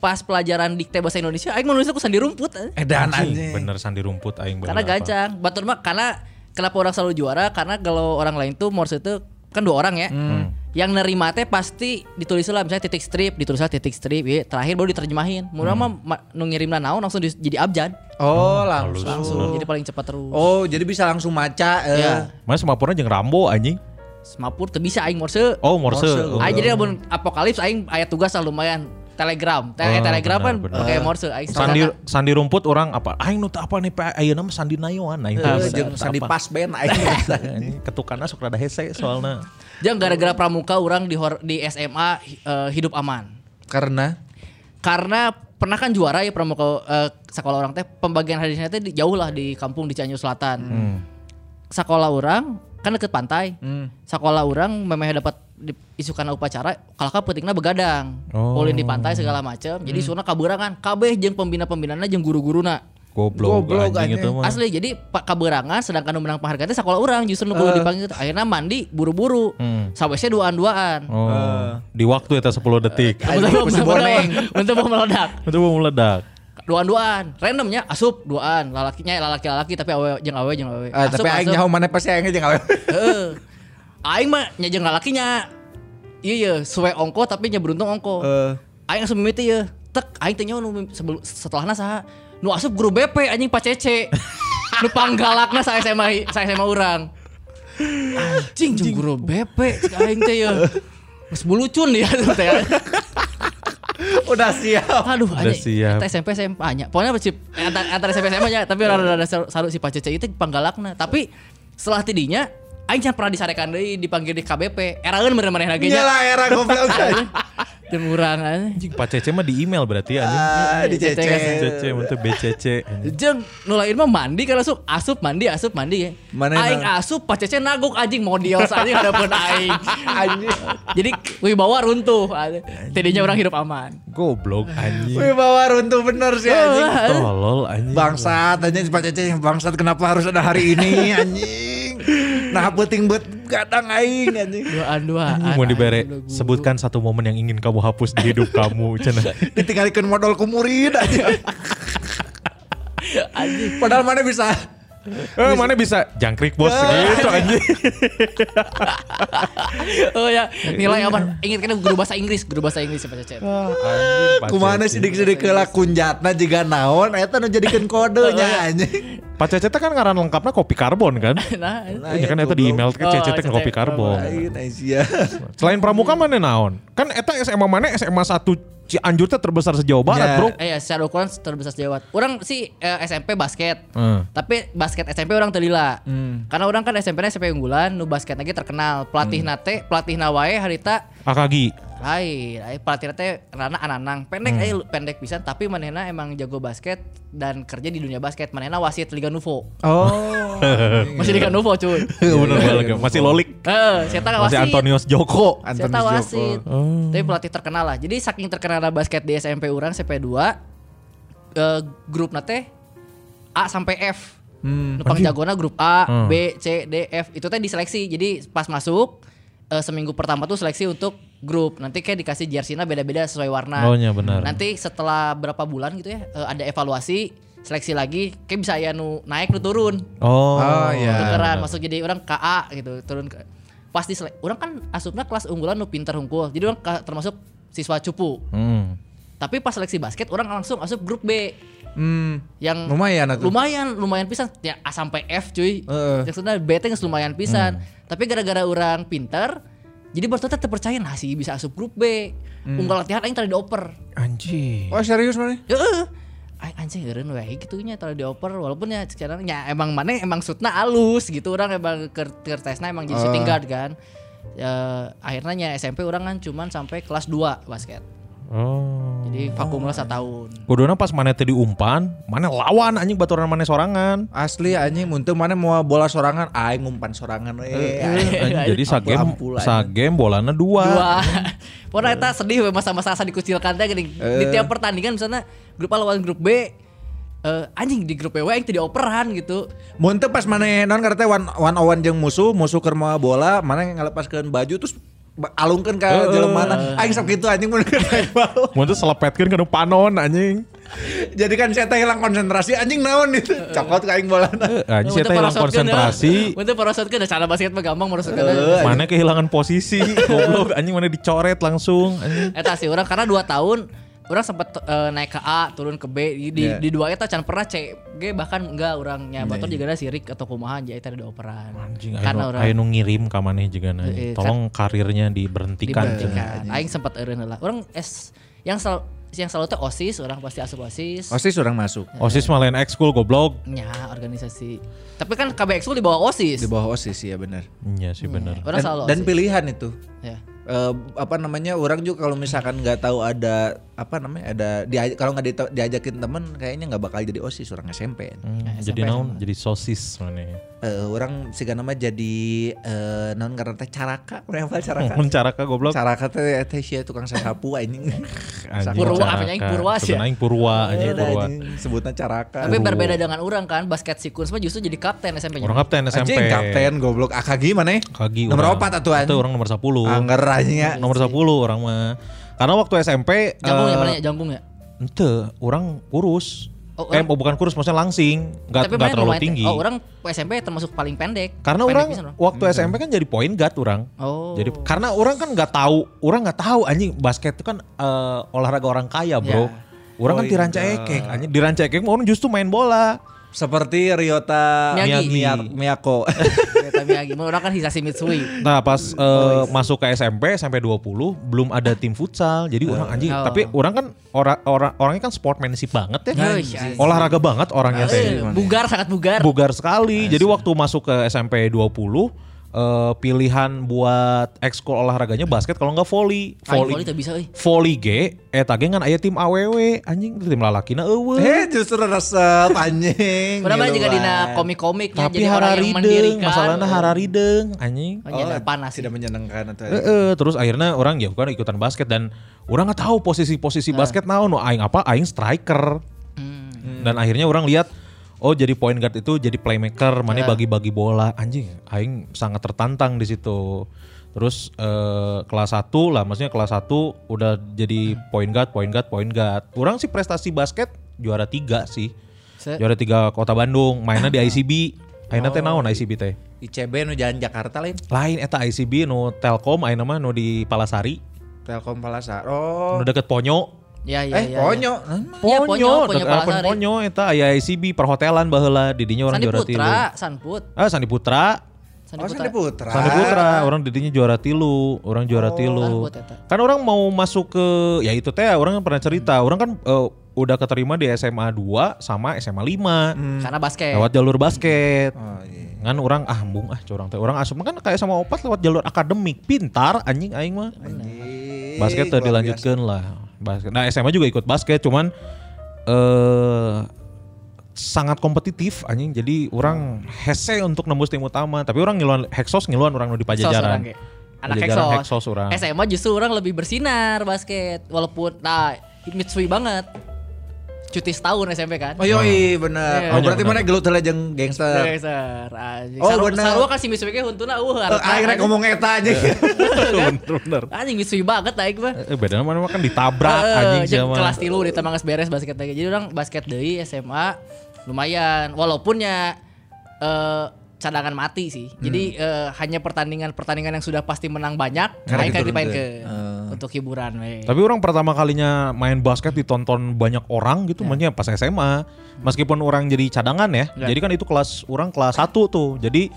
Pas pelajaran dikte bahasa Indonesia, aing menulisnya ku sandi rumput. eh.
Edan anjing.
Bener sandi rumput aing bener
Karena
apa.
gancang. Batur mah karena kenapa orang selalu juara? Karena kalau orang lain tuh morse itu kan dua orang ya.
Hmm.
Yang nerima teh pasti ditulis lah misalnya titik strip, ditulis lah titik strip, ya, terakhir baru diterjemahin. Murah
Hmm.
mah ma- nu ngirimna naon langsung dis- jadi abjad.
Hmm,
Oh, langsung.
Langsung jadi paling cepat terus.
Oh, jadi bisa langsung maca. eh.
Iya.
Ya.
Mana semapurna jeung Rambo anjing.
Semapur teu bisa aing morse.
Oh, Morse.
Morse,
Oh.
Aing Ah, jadi lamun apokalips aing aya tugas lah lumayan. Telegram, Tele-
Oh,
telegram kan
benar, benar.
pakai morse aing.
Sandi
sarjana.
Sandi rumput orang apa? Aing nu teu apa nih Pak? ayeuna mah Sandi Nayoan aing.
Eh,
teu bisa,
jeung
teu
sandi
apa. Iya,
pas ben aing.
Anjing, Ketukanna sok rada hese soalna.
Jang gara-gara pramuka orang di hor- di SMA hi- eh, hidup aman.
Karena
karena pernah kan juara ya pramuka eh, sekolah orang teh pembagian hadiahnya teh di- jauh lah di kampung di Cianjur Selatan.
Hmm.
Hmm.
Sekolah orang kan deket pantai. Sekolah orang memang dapat di- isukan upacara kalahka pentingnya begadang.
Oh. Hmm.
Ulin di pantai segala macam. Jadi suana kaburangan kabeh jeung pembina-pembinana jeung guru-guruna.
Goblok,
Goblok,
anjing itu
anjing.
mah.
Asli jadi pak kaberangan sedangkan nu menang penghargaan teh sekolah orang justru nu
Eh.
kudu dipanggil teh. akhirnya mandi buru-buru. Sampai saya duaan-duaan.
Hmm. Oh,
Uh.
di waktu eta 10 detik.
Anjing,
Untuk-
pasti boneng.
Untuk meledak.
Itu mau meledak.
duaan-duaan randomnya asup duaan lalakinya lalaki-lalaki tapi awe jeung awe jeung awe
Ah, tapi aing nyaho mana pasti aing jeung awe.
Heeh. aing mah nya jeung lalakinya iya iya suwe ongko tapi nya beruntung ongko aing asup mimiti ya tek aing teh nyaho nu mim- sebelum setelahna saha nu asup guru BP anjing pacece nu panggalakna sa SMA hi- sa SMA urang anjing jeung guru BP cek aing teh ya Mas bulucun dia tuh teh.
Udah siap.
Aduh,
Udah siap.
Kita SMP SMA nya. Pokoknya sih antara, antara SMP SMA nya, tapi orang
Iya.
ada saru si Pak Cece itu panggalakna. Tapi setelah tidinya aing can pernah disarekan deui dipanggil di KBP. Eraeun bener-bener nage
Nyalah era goblok.
jeung urang anjing.
Anjing Pak Cece mah di email berarti anjing.
Ah, dicece.
Cece untuk BCC. anjing.
Jeung nulain mah mandi kan langsung asup mandi asup mandi ya.
Mana yang
aing
na-
asup Pak Cece naguk anjing mau dios anjing hadapan aing. anjing. Jadi wibawa runtuh. Tidinya orang hidup aman.
Goblok anjing.
Wih bawa runtuh bener sih anjing.
Tolol Iya, anjing.
Bangsat anjing si Pak Cece yang bangsat kenapa harus ada hari ini anjing. Nah penting buat gadang aing anjing.
Doa-doa.
Anjing mau dibere sebutkan satu momen yang ingin kamu hapus di hidup kamu cenah.
Ditinggalkan modal ku murid anjing. Padahal mana bisa
Eh mana bisa jangkrik bos gitu anjing.
Oh ya,
Iya.
nilai aman. Ingat kan guru bahasa Inggris, guru bahasa Inggris siapa Cecep.
Anjing, Pak
kumana
Cece.
sidik-sidik heula kunjatna jiga naon eta nu jadikeun kodenya anjing.
Pak Cece teh kan ngaran lengkapnya kopi karbon kan?
Nah,
Nah,
Ya kan
ya,
eta di
goblok.
email ke
Oh,
Cece teh
Cece.
kopi karbon.
Lain Aisyah.
Selain pramuka mana naon? Kan eta SMA mana SMA 1 Cianjur teh terbesar se-Jawa Barat,
Ya.
Bro.
eh ya secara ukuran terbesar sejawat. Orang sih eh, SMP basket.
Hmm.
Tapi basket SMP orang telila. Karena orang kan SMP-nya SMP unggulan, nu basket lagi terkenal. Pelatih
Hmm.
nate, pelatih nawae harita
Akagi.
lain. Ai, Pelatih nate Rana Ananang. Pendek
Hmm.
aja pendek pisan tapi manehna emang jago basket dan kerja di dunia basket. Manehna wasit Liga Nuvo.
Oh.
Masih
Iya.
Liga Nuvo cuy.
Bener banget. Masih lolik.
Heeh, saya tahu
Masih
wasit.
Antonius Joko. Oh.
Saya
Antonius
tahu
Joko.
wasit. Tapi pelatih terkenal lah. Jadi saking terkenal basket di SMP urang SMP 2 eh, grup nate A sampai F. Hmm. Nupang jagona grup A,
Hmm.
B, C, D, F. Itu teh diseleksi. Jadi pas masuk eh, seminggu pertama tuh seleksi untuk grup. Nanti kayak dikasih jersey-nya beda-beda sesuai warna.
Oh, iya, benar.
Nanti setelah berapa bulan gitu ya eh, ada evaluasi, seleksi lagi. Kayak bisa ya nu naik nu turun
Oh,
Oh,
Ah,
iya.
tukeran masuk jadi orang KA gitu turun ke pasti orang kan asupna kelas unggulan nu pinter hungkul jadi orang ka- termasuk siswa cupu
Hmm.
tapi pas seleksi basket orang langsung asup grup B
Hmm.
yang
Lumayan atuh.
lumayan lumayan pisan ya A sampai F
Heeh.
cuy
Hmm.
yang sudah B teh geus lumayan pisan tapi gara-gara orang pinter Jadi Barcelona teh percaya lah "Ah, sih bisa asup grup B.
Hmm.
Unggal latihan aing tadi dioper.
Anjing.
Oh serius mana?
Heeh. Ya, eh, Aing anjing eureun we gitu nya tadi dioper walaupun ya sekarang ya emang mana emang sutna alus gitu orang emang ker- kertesna emang jadi shooting guard kan. Eh, akhirnya nya SMP orang kan cuman sampai kelas 2 basket.
Oh.
Jadi vakum lah tahun.
Kuduna pas mana tadi umpan, mana lawan anjing baturan mana sorangan.
Asli anjing muntah mana mau bola sorangan, aing ngumpan sorangan
Eh,
we.
Iya,
Anjing, jadi sagem
Ampul-ampul anjing.
sagem bolana dua.
Dua. Pokoknya eta sedih we masa-masa asa dikucilkan teh gini.
Eh.
Di tiap pertandingan misalnya grup A lawan grup B eh, anjing di grup B we aing teu dioperan gitu.
Muntah pas mana non karena one one on one jeung musuh, musuh keur moal bola, mana ngelepaskeun baju terus ba- alungkeun
Eh,
ka jelema mana. Aing sok kitu anjing mun kena bau.
Mun teu selepetkeun kana panon anjing.
Jadi kan saya teh hilang konsentrasi anjing naon itu. Cokot ka aing bola.
Eh, Anjing saya teh hilang konsentrasi. Eh,
eh. Untuk parasotkeun cara basket mah gampang parasotkeun.
Mana kehilangan posisi, goblok anjing mana dicoret langsung anjing.
Eta Eh, sih orang karena 2 tahun orang sempat eh, naik ke A turun ke B di di,
Iya.
di dua eta can pernah C G bahkan enggak orangnya batur juga ada sirik atau kumaha jadi tadi ada operan
Anjing ayo,
karena Kan orang
ayo nu ngirim ka maneh jeung
Eh,
anjing. Tolong karirnya diberhentikan.
diberhentikan
iya.
aing sempat eureun lah orang S yang sel yang selalu teh OSIS orang pasti asup OSIS
Osis orang masuk.
OSIS malah lain ekskul goblok.
nya organisasi tapi kan KBX di bawah OSIS
Di bawah osis ya benar.
Iya sih bener.
orang
Dan,
selalu
dan
OSIS
pilihan itu.
ya.
Eh, apa namanya orang juga kalau misalkan nggak tahu ada apa namanya ada dia kalau nggak dita- diajakin temen kayaknya nggak bakal jadi osis orang SMP
Hmm,
Eh,
jadi
SMP
naon? Jadi sosis mana?
Eh, orang siga nama jadi eh, non karena teh caraka orang apa caraka
Mun cara ka goblok.
caraka teh eh, teh sia tukang sasapu anjing
Anjing,
Purwa,
caraka.
apanya yang purwa sih ya?
Sebenarnya yang purwa anjing
Ada
purwa.
Iya, anjing, sebutnya caraka
tapi berbeda dengan orang kan basket sikurs mah justru jadi kapten SMP
Orang kapten SMP.
anjing kapten goblok akagi mana ya?
Kagi
nomor
orang.
opat atuan
Itu orang nomor 10.
anggar anjing ya.
Nomor 10 orang mah. Karena waktu SMP
jangkung ya
eh,
mana ya jangkung ya
Ente, orang kurus.
Oh,
eh,
orang-
bukan kurus, maksudnya langsing, nggak nggak
tapi mana
terlalu
lumayan-
tinggi.
Oh, orang SMP termasuk paling pendek.
Karena
Pendek
orang
pisan
waktu SMP kan jadi point guard orang.
Hmm. Oh.
Jadi karena orang kan nggak tahu, orang nggak tahu anjing basket itu kan eh, olahraga orang kaya, Bro.
Ya.
Orang kan
Point
di ranca ekek, anjing di ranca ekek mah orang justru main bola.
seperti Ryota
Miyagi.
Miyar- Miyako
Tapi lagi, orang kan Hisashi
Iya,
Mitsui.
Nah, pas eh, masuk ke SMP sampai 20 belum ada tim futsal. Jadi orang anjing,
Oh.
tapi orang kan orang orang orangnya kan sportmanship banget ya.
Anjing.
Olahraga banget orangnya
iya,
teh.
Eh, bugar sangat bugar.
bugar sekali. Jadi waktu masuk ke SMP 20 eh, pilihan buat ekskul olahraganya basket kalau nggak volley.
Aing volley teu Ah, bisa euy.
Iya,
Volley ge eta ge eh, ngan aya tim AWW anjing tim lalakina eueuh.
Eh justru resep anjing.
Orang mah
Gitu
juga dina
lah.
komik-komiknya
Tapi
Iya, jadi orang yang
hararideng,
mendirikan.
masalahnya hararideng anjing.
Oh, nyadar panas
Tidak
sih.
menyenangkan atau
Eh, eh, terus akhirnya orang ya bukan ikutan basket dan orang nggak tahu posisi-posisi basket naon nu aing apa aing striker.
Hmm.
Dan akhirnya orang lihat oh jadi point guard itu jadi playmaker, mana bagi-bagi bola anjing. Aing sangat tertantang di situ. Terus eh, kelas 1 lah maksudnya kelas 1 udah jadi point guard, point guard, point guard. Orang sih prestasi basket juara tiga sih.
Se-
Juara tiga Kota Bandung, mainnya di ICB. Akhirnya teh naon ICB teh?
ICB nu jalan Jakarta lain.
Lain eta ICB nu Telkom ayeuna mah nu di Palasari.
Telkom Palasar.
Nu
Oh.
deket Ponyo.
Ya,
iya,
ya,
eh
ya.
Ponyo.
Iya, Ponyo, Ponyo
deket- ah,
Palasari.
Ponyo eta aya ICB perhotelan baheula didinya orang
Sandi
juara tilu.
Putra, Sanput.
Ah Sandi Putra.
Sandi
Oh Sandi
Putra.
Putra.
Sandi Putra, orang didinya juara tilu, orang juara
Oh,
tilu.
Sanput eta.
Kan orang mau masuk ke ya itu teh orang yang pernah cerita,
Hmm.
orang kan eh, udah keterima di SMA 2 sama SMA 5.
Karena basket.
Hmm. Lewat jalur basket.
Hmm. Oh iya.
Kan orang ah embung ah curang teh. Orang asup kan kayak sama opat lewat jalur akademik, pintar anjing aing mah.
Anjing,
basket tuh
luar biasa.
dilanjutkan lah basket. Nah SMA juga ikut basket cuman eh sangat kompetitif anjing jadi orang hese untuk nembus tim utama tapi orang ngiluan heksos ngiluan orang nu di
Heksos orang
pajajaran
ge. Anak
Pajajaran
Heksos.
Heksos orang.
SMA justru orang lebih bersinar basket. Walaupun, nah Mitsui banget. Cuti setahun SMP kan.
Oh yoi bener.
Iya,
Oh berarti
bener.
mana gelut lah jeung gangster.
Iya, Gangster. Anjing.
Oh,
Oh, Sarua,
bener.
Sarua kan si Mitsui ge huntuna eueuh
Eh, Aing
kan.
rek ngomong eta aja.
Iya. bener
Anjing Mitsui banget aing mah.
eh, bedanya mana mah kan ditabrak
Eh,
anjing
jeung
siapa
kelas tilu di Tamangas beres basket lagi. Jadi orang basket deui SMA lumayan walaupun ya eh cadangan mati sih.
Hmm.
Jadi eh, hanya pertandingan-pertandingan yang sudah pasti menang banyak
Karena
aing kan
diturunkan.
dimainkeun untuk hiburan we.
Eh. tapi orang pertama kalinya main basket ditonton banyak orang
Iya.
gitu makanya pas
Iya.
SMA meskipun orang jadi cadangan ya jadi kan itu kelas orang kelas 1 tuh jadi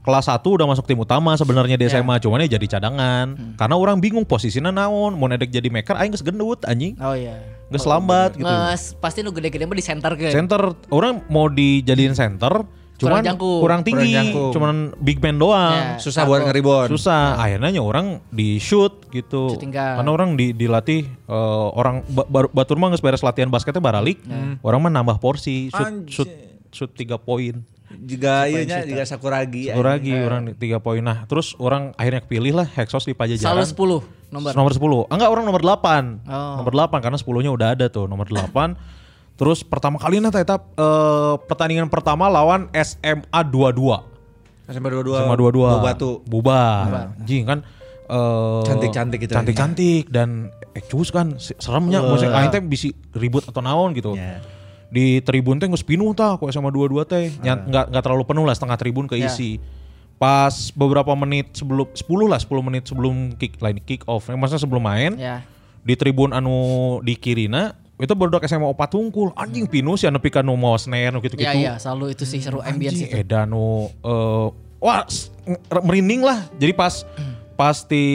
kelas 1 udah masuk tim utama sebenarnya
Iya.
di SMA, cuman ya jadi cadangan.
Hmm.
Karena orang bingung posisinya naon, mau nedek jadi maker aing geus gendut anjing,
Oh Nah, iya.
geus lambat gitu.
Mas, pasti nu gede-gede mah di center kan.
Center orang mau dijadiin center, cuman
Kurang jangkung.
kurang tinggi,
Kurang jangkung.
cuman big man doang.
Iya.
Susah buat ngeribon.
Susah, Nah, akhirnya orang di shoot gitu.
Shooting guard.
Karena orang di, dilatih eh, orang ba- baru- batur mah geus beres latihan basketnya baralik,
Nah. Hmm.
orang mah nambah porsi, shoot shoot, shoot 3 poin.
Jika iya nya jika sakuragi.
Satu lagi orang di- tiga poin. Nah, terus orang akhirnya kepilih lah Hexos di Pajajaran.
Selalu 10 nomor.
Nomor 10. Ah, enggak, orang nomor 8.
Oh.
Nomor 8 karena 10-nya udah ada tuh, nomor 8. terus pertama kali nanti etap eh, pertandingan pertama lawan SMA 22.
Sampai dua-dua.
SMA 22.
Dua batu.
Bubar. Anjing kan eh,
Cantik-cantik gitu.
Cantik-cantik dan ekcus kan se- seremnya maksudnya aing teh bisi ribut atau naon gitu.
Iya.
Di tribun teh geus pinuh tah ku SMA 22 teh.
Ah.
Nya- nggak nggak terlalu penuh lah setengah tribun
Iya.
keisi. Pas beberapa menit sebelum 10 lah 10 menit sebelum kick line kick off. Eh, Maksudnya sebelum main
Iya.
Ya.
di tribun anu di kirina itu baru SMA opat tungkul anjing pinuh sih anu pika nu mawas ner nu gitu-gitu
Ya
Iya,
ya, selalu itu sih seru ambience
Anjing,
itu.
Edan nu, eh, wah s- nge- merinding lah. Jadi pas pas di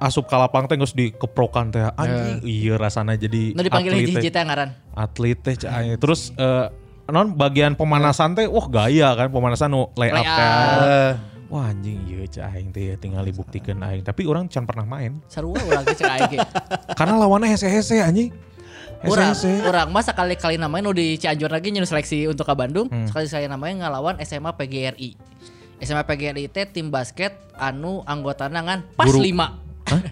asup kalapang teh geus dikeprokan teh anjing iya rasana jadi
Nu Ya. Nah, dipanggilnya
atlet eh. teh.
jijit teh ngaran.
atlet teh cah, anjing. terus eh, non bagian pemanasan teh wah gaya kan pemanasan nu lay up
Lay up.
kan wah anjing iya cah aing teh tinggal dibuktikan aing tapi orang can pernah main
Seru we urang teh cek aing.
karena lawannya hese-hese anjing Eh,
Orang,
hese-hese
orang mah sekali kali namanya nu di Cianjur lagi nyuruh seleksi untuk ke Bandung,
Hmm.
sekali saya namanya ngelawan SMA PGRI. SMA PGRI teh tim basket anu anggotana ngan pas
Guru.
lima.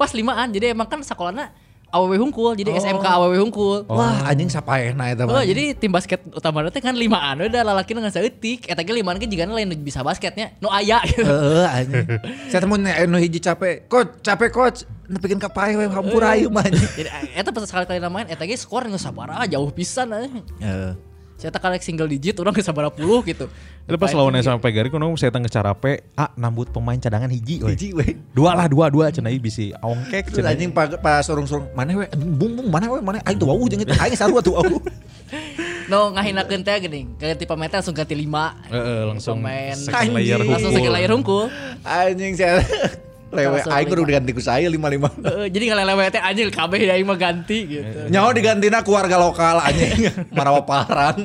pas limaan. Jadi emang kan sekolahnya AWW
Oh.
Hungkul, jadi SMK AWW Hungkul.
Wah anjing sapaehna
iya,
eta
Oh,
mah.
jadi tim basket utama teh kan limaan udah lalaki dengan saeutik eta ge limaan ge jigana lain nu bisa basketnya nu aya gitu.
Heeh Eh, anjing. Saya temu nya anu hiji capek. Coach, capek coach. Nepikeun ka paeh we hampur
Eh.
ayeuna mah anjing.
Jadi eta pas sekali kali namanya eta ge skor nu sabaraha jauh pisan eh. anjing.
Eh.
Si Eta kali single digit orang ke sabaraha puluh gitu.
itu pas
Lupain
lawannya
gitu.
sama Pegari kuno saya tengah carape ah nambut pemain cadangan hiji weh.
Hiji we.
dua lah dua dua cenai bisi ongkek
Terus
cenai
anjing pa- pas sorong-sorong mana we bung bung mana we mana aing tuh wau jeung eta aing sarua tuh wau.
No ngahinakeun teh geuning, ganti pemain teh langsung ganti lima.
Heeh, langsung
Pemain.
second layer
Anjing.
Langsung
hukul.
second layer hungkul.
Anjing saya lewe
Langsung
aing kudu
lima.
diganti ku saya lima-lima.
Heeh, jadi ngalelewe teh anjing kabeh aing mah ganti
Eh.
gitu.
Nyaho digantina keluarga lokal anjing marawa parang.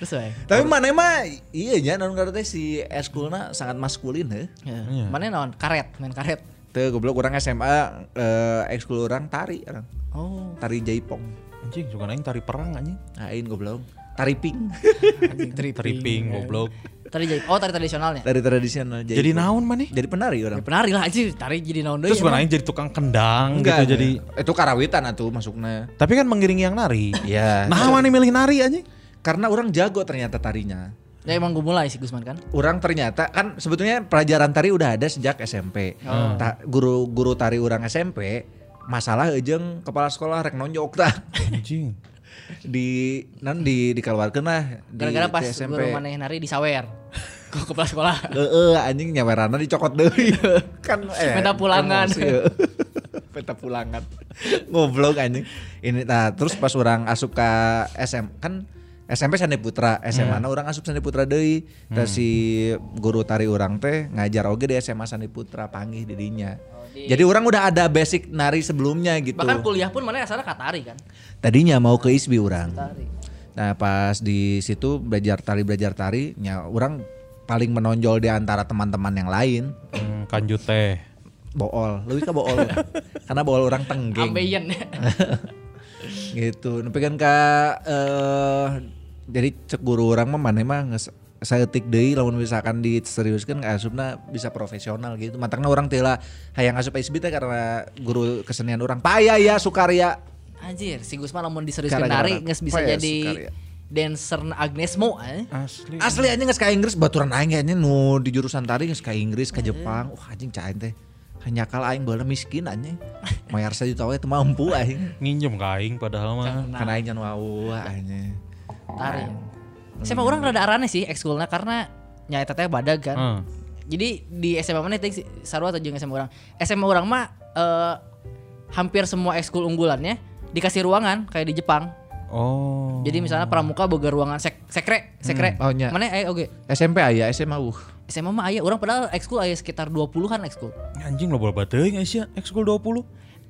Terus wae.
Tapi mana mah iya nya naon karena teh si eskulna sangat maskulin heuh.
Iya.
Ya. Mana naon karet, main karet.
Teu goblok orang SMA eh, ekskul orang tari orang.
Oh,
Tari Jaipong. Nah,
Anjing, suka aing tari perang anjing.
Aing goblok. Tari pink.
anjing tripping. Eh.
Tripping goblok.
Tari jadi oh tari tradisionalnya.
Tari tradisional Jaipong.
Jadi iya, naon Gitu, maneh?
Jadi penari
Ya
orang.
penari lah anjir, tari jadi naon deui.
Terus suka
emang.
aing jadi tukang kendang gitu jadi.
nah. itu karawitan atuh masuknya.
Tapi kan mengiringi yang nari.
Iya.
Nah, maneh milih nari anjing?
Karena orang jago ternyata tarinya.
Ya emang gue mulai sih Gusman kan.
Orang ternyata kan sebetulnya pelajaran tari udah ada sejak SMP.
Hmm.
Ta- Guru-guru tari orang SMP masalah ejeng kepala sekolah rek nonjok tah
Anjing.
di nan di dikeluarkeun lah di,
Gara-gara pas
di
gue rumahnya nari di Sawer. Ke kepala sekolah.
Heeh, anjing nyawerana dicokot deui. kan iya.
Peta pulangan.
emosi, heeh. Peta pulangan. Ngoblok anjing. Ini nah terus pas orang asup ke SM kan SMP Sandi Putra, SMA na orang asup Sandi Putra deui. Tah si guru tari orang teh ngajar oge di SMA Sandi Putra panggih didinya. Jadi orang udah ada basic nari sebelumnya gitu.
Bahkan kuliah pun mana asalnya katari kan.
Tadinya mau ke ISBI orang.
Tari.
Nah pas di situ belajar tari belajar tari, ya orang paling menonjol di antara teman-teman yang lain.
Hmm, kanjut teh.
Bool, lebih ke bool, karena bool orang tenggeng.
Ambeien.
gitu, tapi kan ke eh, jadi cek guru orang mah mana mah saya deui lamun misalkan diseriuskan ke asupna bisa profesional gitu. Matangna orang tela hayang asup SB teh karena guru kesenian orang. Paya ya Sukarya.
Anjir, si Gusman lamun diseriuskeun
Gara-gara
nari
Oh,
geus bisa
iya,
apa ya,
jadi
Sukarya?
dancer Agnes Mo. eh.
Asli.
Asli anjing geus ka Inggris baturan aing ge, anjing nu di jurusan tari geus ka Inggris ka Jepang. Wah anjing cain teh. Hanya kal aing baheula miskin anjing. Mayar sajuta wae teu mampu aing.
Nginjem ka aing padahal mah.
Nah,
Kan aing jan wau anjing.
tari. Saya mah orang rada arane sih ekskulna karena nyaeta teh badag kan.
Hmm.
Jadi di SMA mana teh si- sarua atau jeung SMA orang. SMA orang mah eh, hampir semua ekskul unggulannya dikasih ruangan kayak di Jepang.
Oh.
Jadi misalnya pramuka boga ruangan sek sekre, sekre.
Hmm, oh, nya.
Mana eh oge.
SMP aya, SMA uh.
SMA mah aya orang padahal ekskul aya sekitar 20-an ekskul.
Anjing lo bola bateuing Aisyah ekskul 20.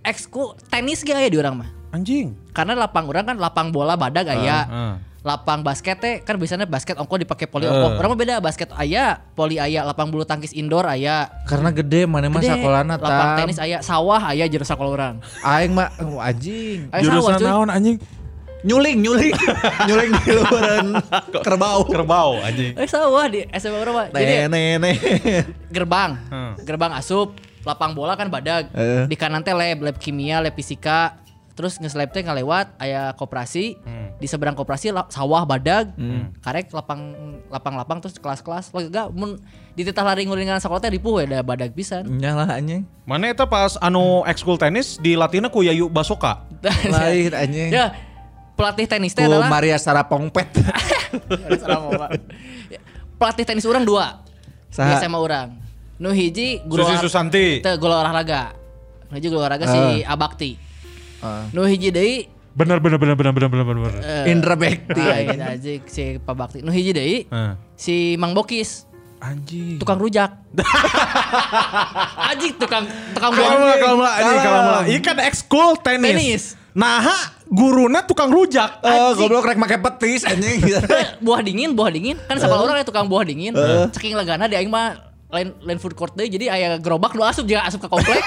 Ekskul tenis ge aya di orang mah.
Anjing.
Karena lapang orang kan lapang bola badag aya.
heeh.
Lapang basket teh kan biasanya basket ongko dipakai poli ongko.
Eh.
Orang mah beda basket aya, poli aya, lapang bulu tangkis indoor aya.
Karena gede mana mah
Gede.
sakolana
Lapang
tam.
tenis aya, sawah aya jeung sakola orang.
Aing mah oh, anjing.
Aya sawah
Jurusan
cuy.
naon anjing?
Nyuling, nyuling. nyuling di luaran kerbau.
Kerbau anjing.
Eh sawah di SMA orang mah. Jadi
Nene.
gerbang
Hmm.
gerbang asup lapang bola kan badag
Eh.
di kanan teh lab lab kimia lab fisika terus ngeslab teh ngalewat aya koperasi
Hmm.
di seberang koperasi la- sawah badag
Hmm.
karek lapang lapang lapang terus kelas-kelas lega mun di titah lari ngulingan sekolah teh ripuh ya da badag pisan
Nyala anjing.
Mana eta pas anu ekskul tenis dilatihna ku Yayu Basoka.
Lain anjing.
ya pelatih tenis teh
Ku
adalah
Maria Sarapongpet.
Ada salah ngomong. Ya, pelatih tenis orang dua di
Saha?
SMA orang nu hiji guru
Susi
olah-
Susanti.
teu gula olahraga nu hiji gula olahraga si Abakti
Ah.
nu hiji deui
Benar benar benar benar benar benar benar.
eh,
Indra Bekti.
lain aja si Pak Bakti nu hiji deui
Heeh.
si Mang Bokis
Anjing.
tukang rujak anjing tukang tukang
Kalamula,
rujak
kalamula, anjing kalamula. Iya kan ekskul tenis.
Tenis.
Nah, guruna tukang rujak.
Eh, goblok rek make petis anjing.
Eh, buah dingin buah dingin kan salah orang ya tukang buah dingin ceking legana di aing mah lain lain food court deui jadi aya gerobak nu asup jeung asup ke komplek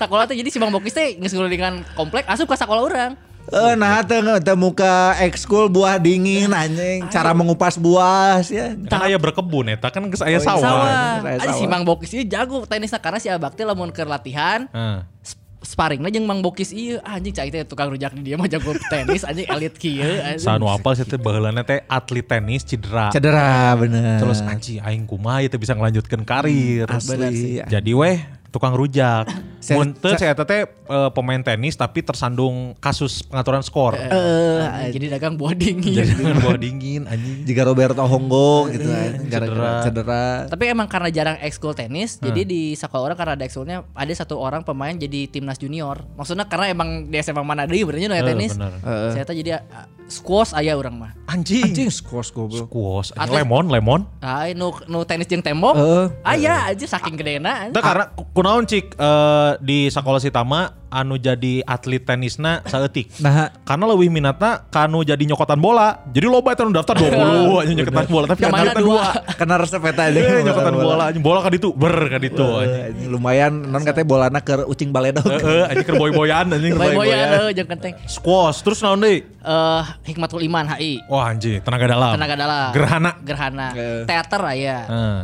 sakola teh jadi si Mang Bokis teh geus ngulingan komplek asup ke sakola orang
Eh, nah teu teu muka ekskul buah dingin anjing, cara mengupas buah ya.
Kan aya berkebun eta kan geus aya
Oh, iya,
sawah.
sawah.
Saya
Ada si
sawah.
Mang Bokis ieu jago tenisna karena si Abakti lamun keur latihan
Heeh.
sp- sparringna jeung Mang Bokis ieu anjing cai teh tukang rujak di dia mah jago tenis anjing elit kieu. anjing.
Sanu apal sih teh baheulana teh atlet tenis cedera.
Cedera bener.
Terus anjing aing kumaha ieu teh bisa ngelanjutkeun karir.
Bener sih.
Jadi weh tukang rujak.
Saya-
Mun teu
saya-
saya teh eh, pemain tenis tapi tersandung kasus pengaturan skor.
Eh, anjing, jadi dagang iya. buah
Jadi
dingin.
bawa dingin anjing.
Jika Roberto Honggo gitu anjing, gara-gara cedera.
Tapi emang karena jarang ekskul tenis, jadi di sekolah orang karena ada ekskulnya ada satu orang pemain jadi timnas junior. Maksudnya karena emang di SMA mana deui benernya nu aya
Eh,
tenis.
bener.
Saya teh jadi ah, squash aya orang mah.
Anjing.
Anjing squash goblok.
Squash. Anjing.
Atlet-
Lemon, lemon.
Ah, nu nu tenis jeung tembok.
Eh.
Heeh.
aya aja saking gedena. anjing.
Teu karena ku- kunaon cik eh, di sekolah Sitama anu jadi atlet tenisna saeutik.
Nah,
Karena leuwih minatna kanu jadi nyokotan bola. Jadi loba eta nu daftar 20 anjing nyokotan bola tapi
Iya. Yang mana
nyokotan
dua?
kena resep eta anjing.
Eh, nyokotan bola anjing bola kan itu ber kan itu
Iya.
anjing.
Iya, Anjing, Lumayan non katanya bolana ke ucing baledog.
Heeh, anjing keur boy-boyan anjing keur boy-boyan.
Boy-boyan eh, jeung kenteng.
Squash terus naon deui?
eh Hikmatul Iman HI.
Wah anjing, tenaga dalam.
Tenaga dalam.
Gerhana. Eh.
Gerhana. Teater ya. aya.
Heeh.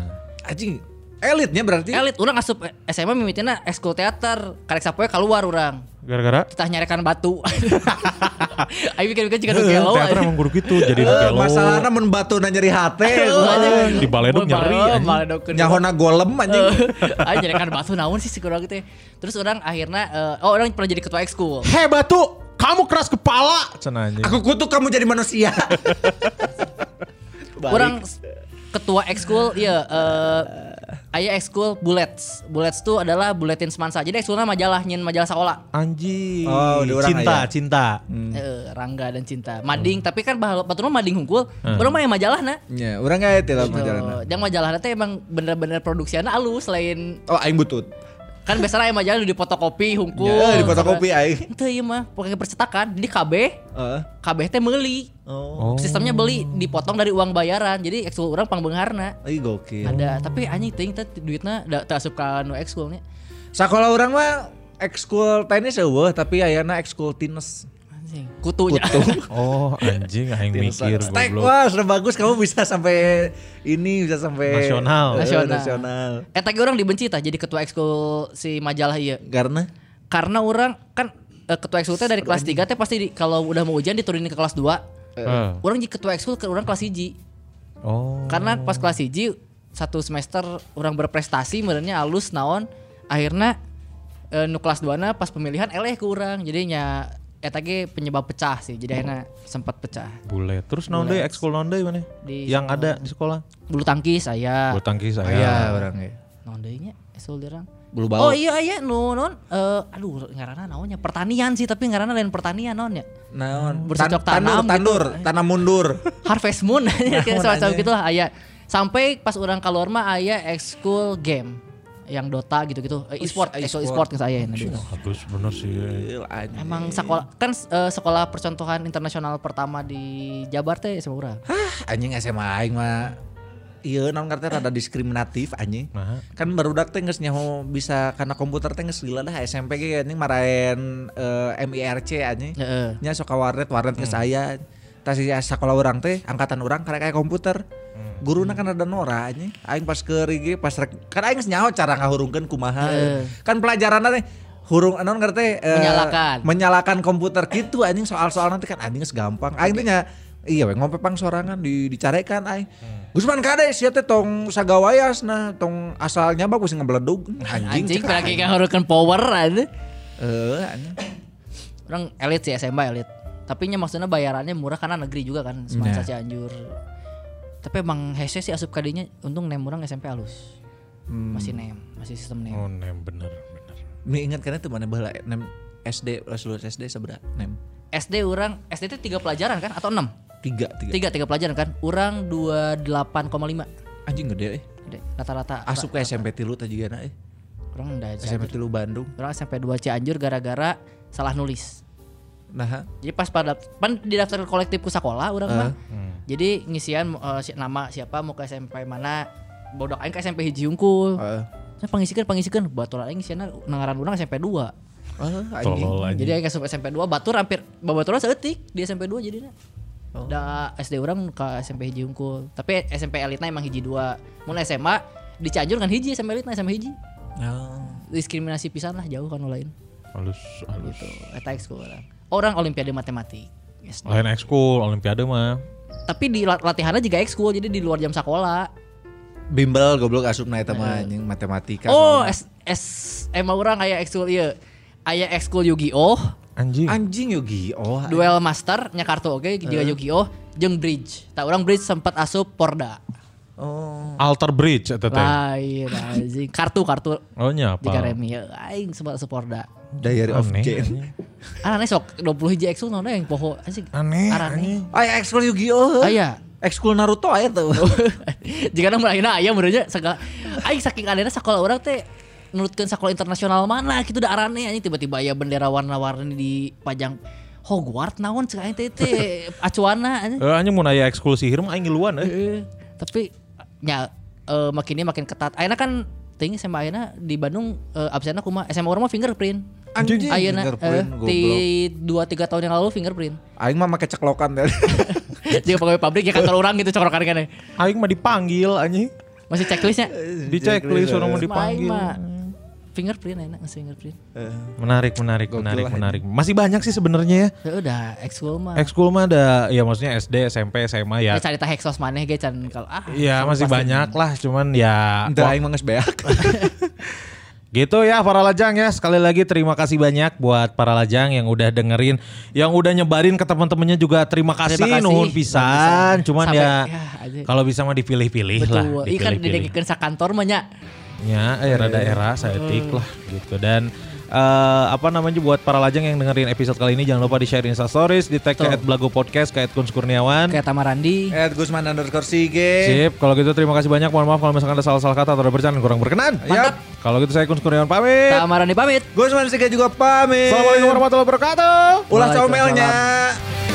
Anjing elitnya berarti.
Elit Eh, urang asup SMA mimitina ekskul teater. Karek sapoe keluar urang.
Gara-gara
Kita nyarekan batu. Ayo pikir-pikir jika nu gelo.
teater emang guru gitu jadi nu
Eh,
gelo.
masalahnya men batu na nyeri hate.
Di Baledog nyeri, anjing.
Nyahona golem anjing.
Ayo nyarekan batu naon sih si kurang gitu ya. Terus orang akhirnya eh, oh orang pernah jadi ketua ekskul.
Hei batu, kamu keras kepala. Cenah anjing.
Aku kutuk kamu jadi manusia.
Orang s- ketua ekskul iya eh aya ekskul bullets. Bullets itu adalah buletin semansa. Jadi ekskulna majalah nyin majalah sekolah.
Anjing.
Oh, udah orang
cinta,
aya.
cinta.
Eh, Rangga dan Cinta. Mading,
Hmm.
tapi kan bahal batur mah mading hungkul. Baru mah yang majalah nah. na.
Ya, orang enggak eta
Iya. Gitu.
perjalanan.
Yang majalah teh emang bener-bener produksinya alus selain
Oh, aing butut.
kan biasanya yang majalah di fotokopi hungkul.
Ya, di fotokopi aing.
Itu iya mah pakai percetakan di KB.
Heeh.
KB teh meuli.
Oh.
Sistemnya beli dipotong dari uang bayaran. Jadi ekskul orang pangbeungharna.
Ih gokil.
Ada, tapi anjing teuing teh duitna da teu asup ka anu nu ekskulnya.
Sakola orang mah ekskul tenis eueuh tapi ayana ekskul tenis.
Anjing, kutunya.
Oh, anjing aing mikir
Stek
goblok.
wah sudah bagus kamu bisa sampai ini bisa sampai
Nasional.
Eh,
Nasional.
nasional.
Eta ge Eh, urang dibenci tah jadi ketua ekskul si majalah ieu.
Karena
karena orang kan eh, ketua ekskul teh dari kelas 3 teh pasti di- kalau udah mau ujian diturunin ke kelas 2.
Eh.
Orang jadi ketua ekskul ke orang kelas 1.
Oh.
Karena pas kelas 1 satu semester orang berprestasi merenya alus naon akhirnya eh, nu kelas 2 pas pemilihan eleh ke orang jadinya eta ge penyebab pecah sih jadi akhirnya sempat pecah
Bule. Terus naon deui ekskul naon deui mana? Yang
Di sekolah. Ah.
ada di sekolah.
bulu tangkis aya
Bulu tangkis
Oh,
aya.
orang ya.
naon deui nya ekskul di urang?
Bulu
iya, Oh
bau.
iya iya nu non eh aduh ngaranna naonnya pertanian sih tapi ngaranna lain pertanian naonnya
Naon?
Bercocok tanam gitu.
tandur, tandur, tanam mundur.
Harvest Moon Ya, kayak semacam
anjing.
gitu lah aya Sampai pas orang keluar mah aya ekskul game yang Dota gitu-gitu, Eh, e-sport, ekskul e-sport ke saya.
Bagus bener sih.
Emang sekolah kan eh, sekolah percontohan internasional pertama di Jabar teh SMA urang.
anjing SMA aing mah iya naon karena rada diskriminatif anjing
Nah.
kan barudak teh geus nyaho bisa karena komputer teh geus gila dah SMP ge anjing maraen eh, MIRC anjing
Heeh.
nya sok ka warnet warnet geus aya tas ya sekolah orang teh angkatan orang karena kayak komputer guruna kan ada nora anjing aing pas ke rigi pas rek karena aing geus nyaho cara ngahurungkeun kumaha
Heeh.
kan pelajaran teh hurung anon ngerti teh eh,
Menyalakan.
menyalakan komputer gitu anjing soal-soal nanti kan anjing geus gampang aing teh nya iya we ngompe pang sorangan di dicarekan aing Gusman kade sia teh tong sagawayas nah tong asalnya bagus ngebledug anjing cek
Anjing lagi ngahurukeun power anjing.
eh anjing
Orang elit sih SMA elit. Tapi nya maksudnya bayarannya murah karena negeri juga kan, semacam Cianjur. Tapi emang hese sih asup kadinya untung nem orang SMP halus. Masih nem, masih sistem nem.
Oh, nem bener bener.
Mi ingat kan itu mana bala nem SD pas lulus SD seberapa nem
SD orang SD itu tiga pelajaran kan atau enam?
tiga tiga
Tiga tiga pelajaran kan. Orang dua delapan koma lima
anjing gede eh
rata-rata.
asup ke SMP tilu tadi gana eh
Orang udah
SMP
Cianjur.
tilu Bandung
Orang SMP 2 Cianjur gara-gara salah nulis.
nah
Jadi pas pada pan di daftar kolektifku sekolah orang mah. Jadi ngisian eh, si- nama siapa mau ke SMP mana. Bodoh aing ke SMP hiji unggul.
Heeh.
Nah, pangisikeun pangisikeun batur aing ngisianna nangaran urang SMP 2.
ah, anjing
Tolol aja.
Jadi aing asup SMP 2 batur hampir batur seutik di SMP 2 jadinya. Da SD orang ke SMP hiji unggul. Tapi SMP elitna emang hiji 2. Mun SMA di Cianjur kan hiji SMP elitna SMA hiji.
Ah.
Diskriminasi pisan lah jauh kan lain.
Halus halus.
gitu eta ekskul orang orang olimpiade matematik Yes.
Lain ekskul, olimpiade mah.
tapi di la- latihannya juga ekskul jadi di luar jam sekolah
bimbel goblok asup na eta mah anjing matematika
oh
soalnya.
s s emang orang aya ekskul iya aya ekskul Yu-Gi-Oh
Anjing.
anjing yogi oh
duel master nya kartu oke juga Yu-Gi-Oh jeung bridge tak orang bridge sempat asup porda
oh
Alter Bridge eta teh.
lain anjing kartu kartu
Oh nya
di
apa?
Karemi ya aing sempat asup porda
diary of
Aneh,
Jane
anjing.
aneh sok 20 hiji ekskul nona yang poho anjing
Aneh.
Arane.
anjing.
Ay, ekskul Yu-Gi-Oh!
Aya.
Ekskul Naruto aja tuh.
jika nama lainnya ayah menurutnya segala aing saking anehna sekolah orang teh nurutkan sekolah internasional mana gitu da arane anjing tiba-tiba aya bendera warna-warni di pajang Hogwarts naon cek aing teh teh acuana anjing
Eh anjing mun aya ekskul sihir mah aing ngiluan eh. euy.
Heeh. Eh, tapi nya eh, makin dia makin ketat ayeuna kan tinggi sama ayeuna di Bandung eh, absennya kumaha SMA orang mah fingerprint
Anjing,
ayeuna eh,
fingerprint,
di 2 3 tahun yang lalu fingerprint
Aing mah make ceklokan teh.
jadi pegawai pabrik ya kantor orang gitu cokrokan kan
Aing mah dipanggil anjing.
masih checklistnya
Di checklist orang mau dipanggil.
mah fingerprint enak ngasih fingerprint
Menarik, menarik, menarik, menarik. Masih banyak sih sebenarnya ya.
Ya udah ekskul mah.
Ekskul mah ada ya maksudnya SD, SMP, SMA ya.
Ya cari tah heksos maneh ge can kalau ah.
Ya masih banyak lah cuman ya
Entar aing mah geus beak.
Gitu ya para lajang ya sekali lagi terima kasih banyak buat para lajang yang udah dengerin, yang udah nyebarin ke teman-temannya juga terima kasih,
Terima kasih.
nuhun pisan.
Nuhun pisan.
Cuman
Sampai-
ya,
ya, aja.
kalau bisa mah dipilih-pilih Iya lah,
Betul. Ikan
dipilih-pilih.
didengkeun sakantor mah nya.
Ya, eh, rada era saya
Hmm.
lah gitu dan eh, apa namanya buat para lajang yang dengerin episode kali ini jangan lupa di share Insta Stories, di tag ke
Betul.
@blago podcast ke @kunskurniawan.
Kayak Tamarandi.
Eh Gusman underscore Sige.
Sip, kalau gitu terima kasih banyak. Mohon maaf kalau misalkan ada salah-salah kata atau ada bercanda yang kurang berkenan.
Mantap.
Kalau gitu saya Kun Kurniawan pamit.
Tamarandi pamit.
Gusman Sige juga pamit.
Assalamualaikum warahmatullahi wabarakatuh.
Ulah
Waalaikumsalam.
comelnya.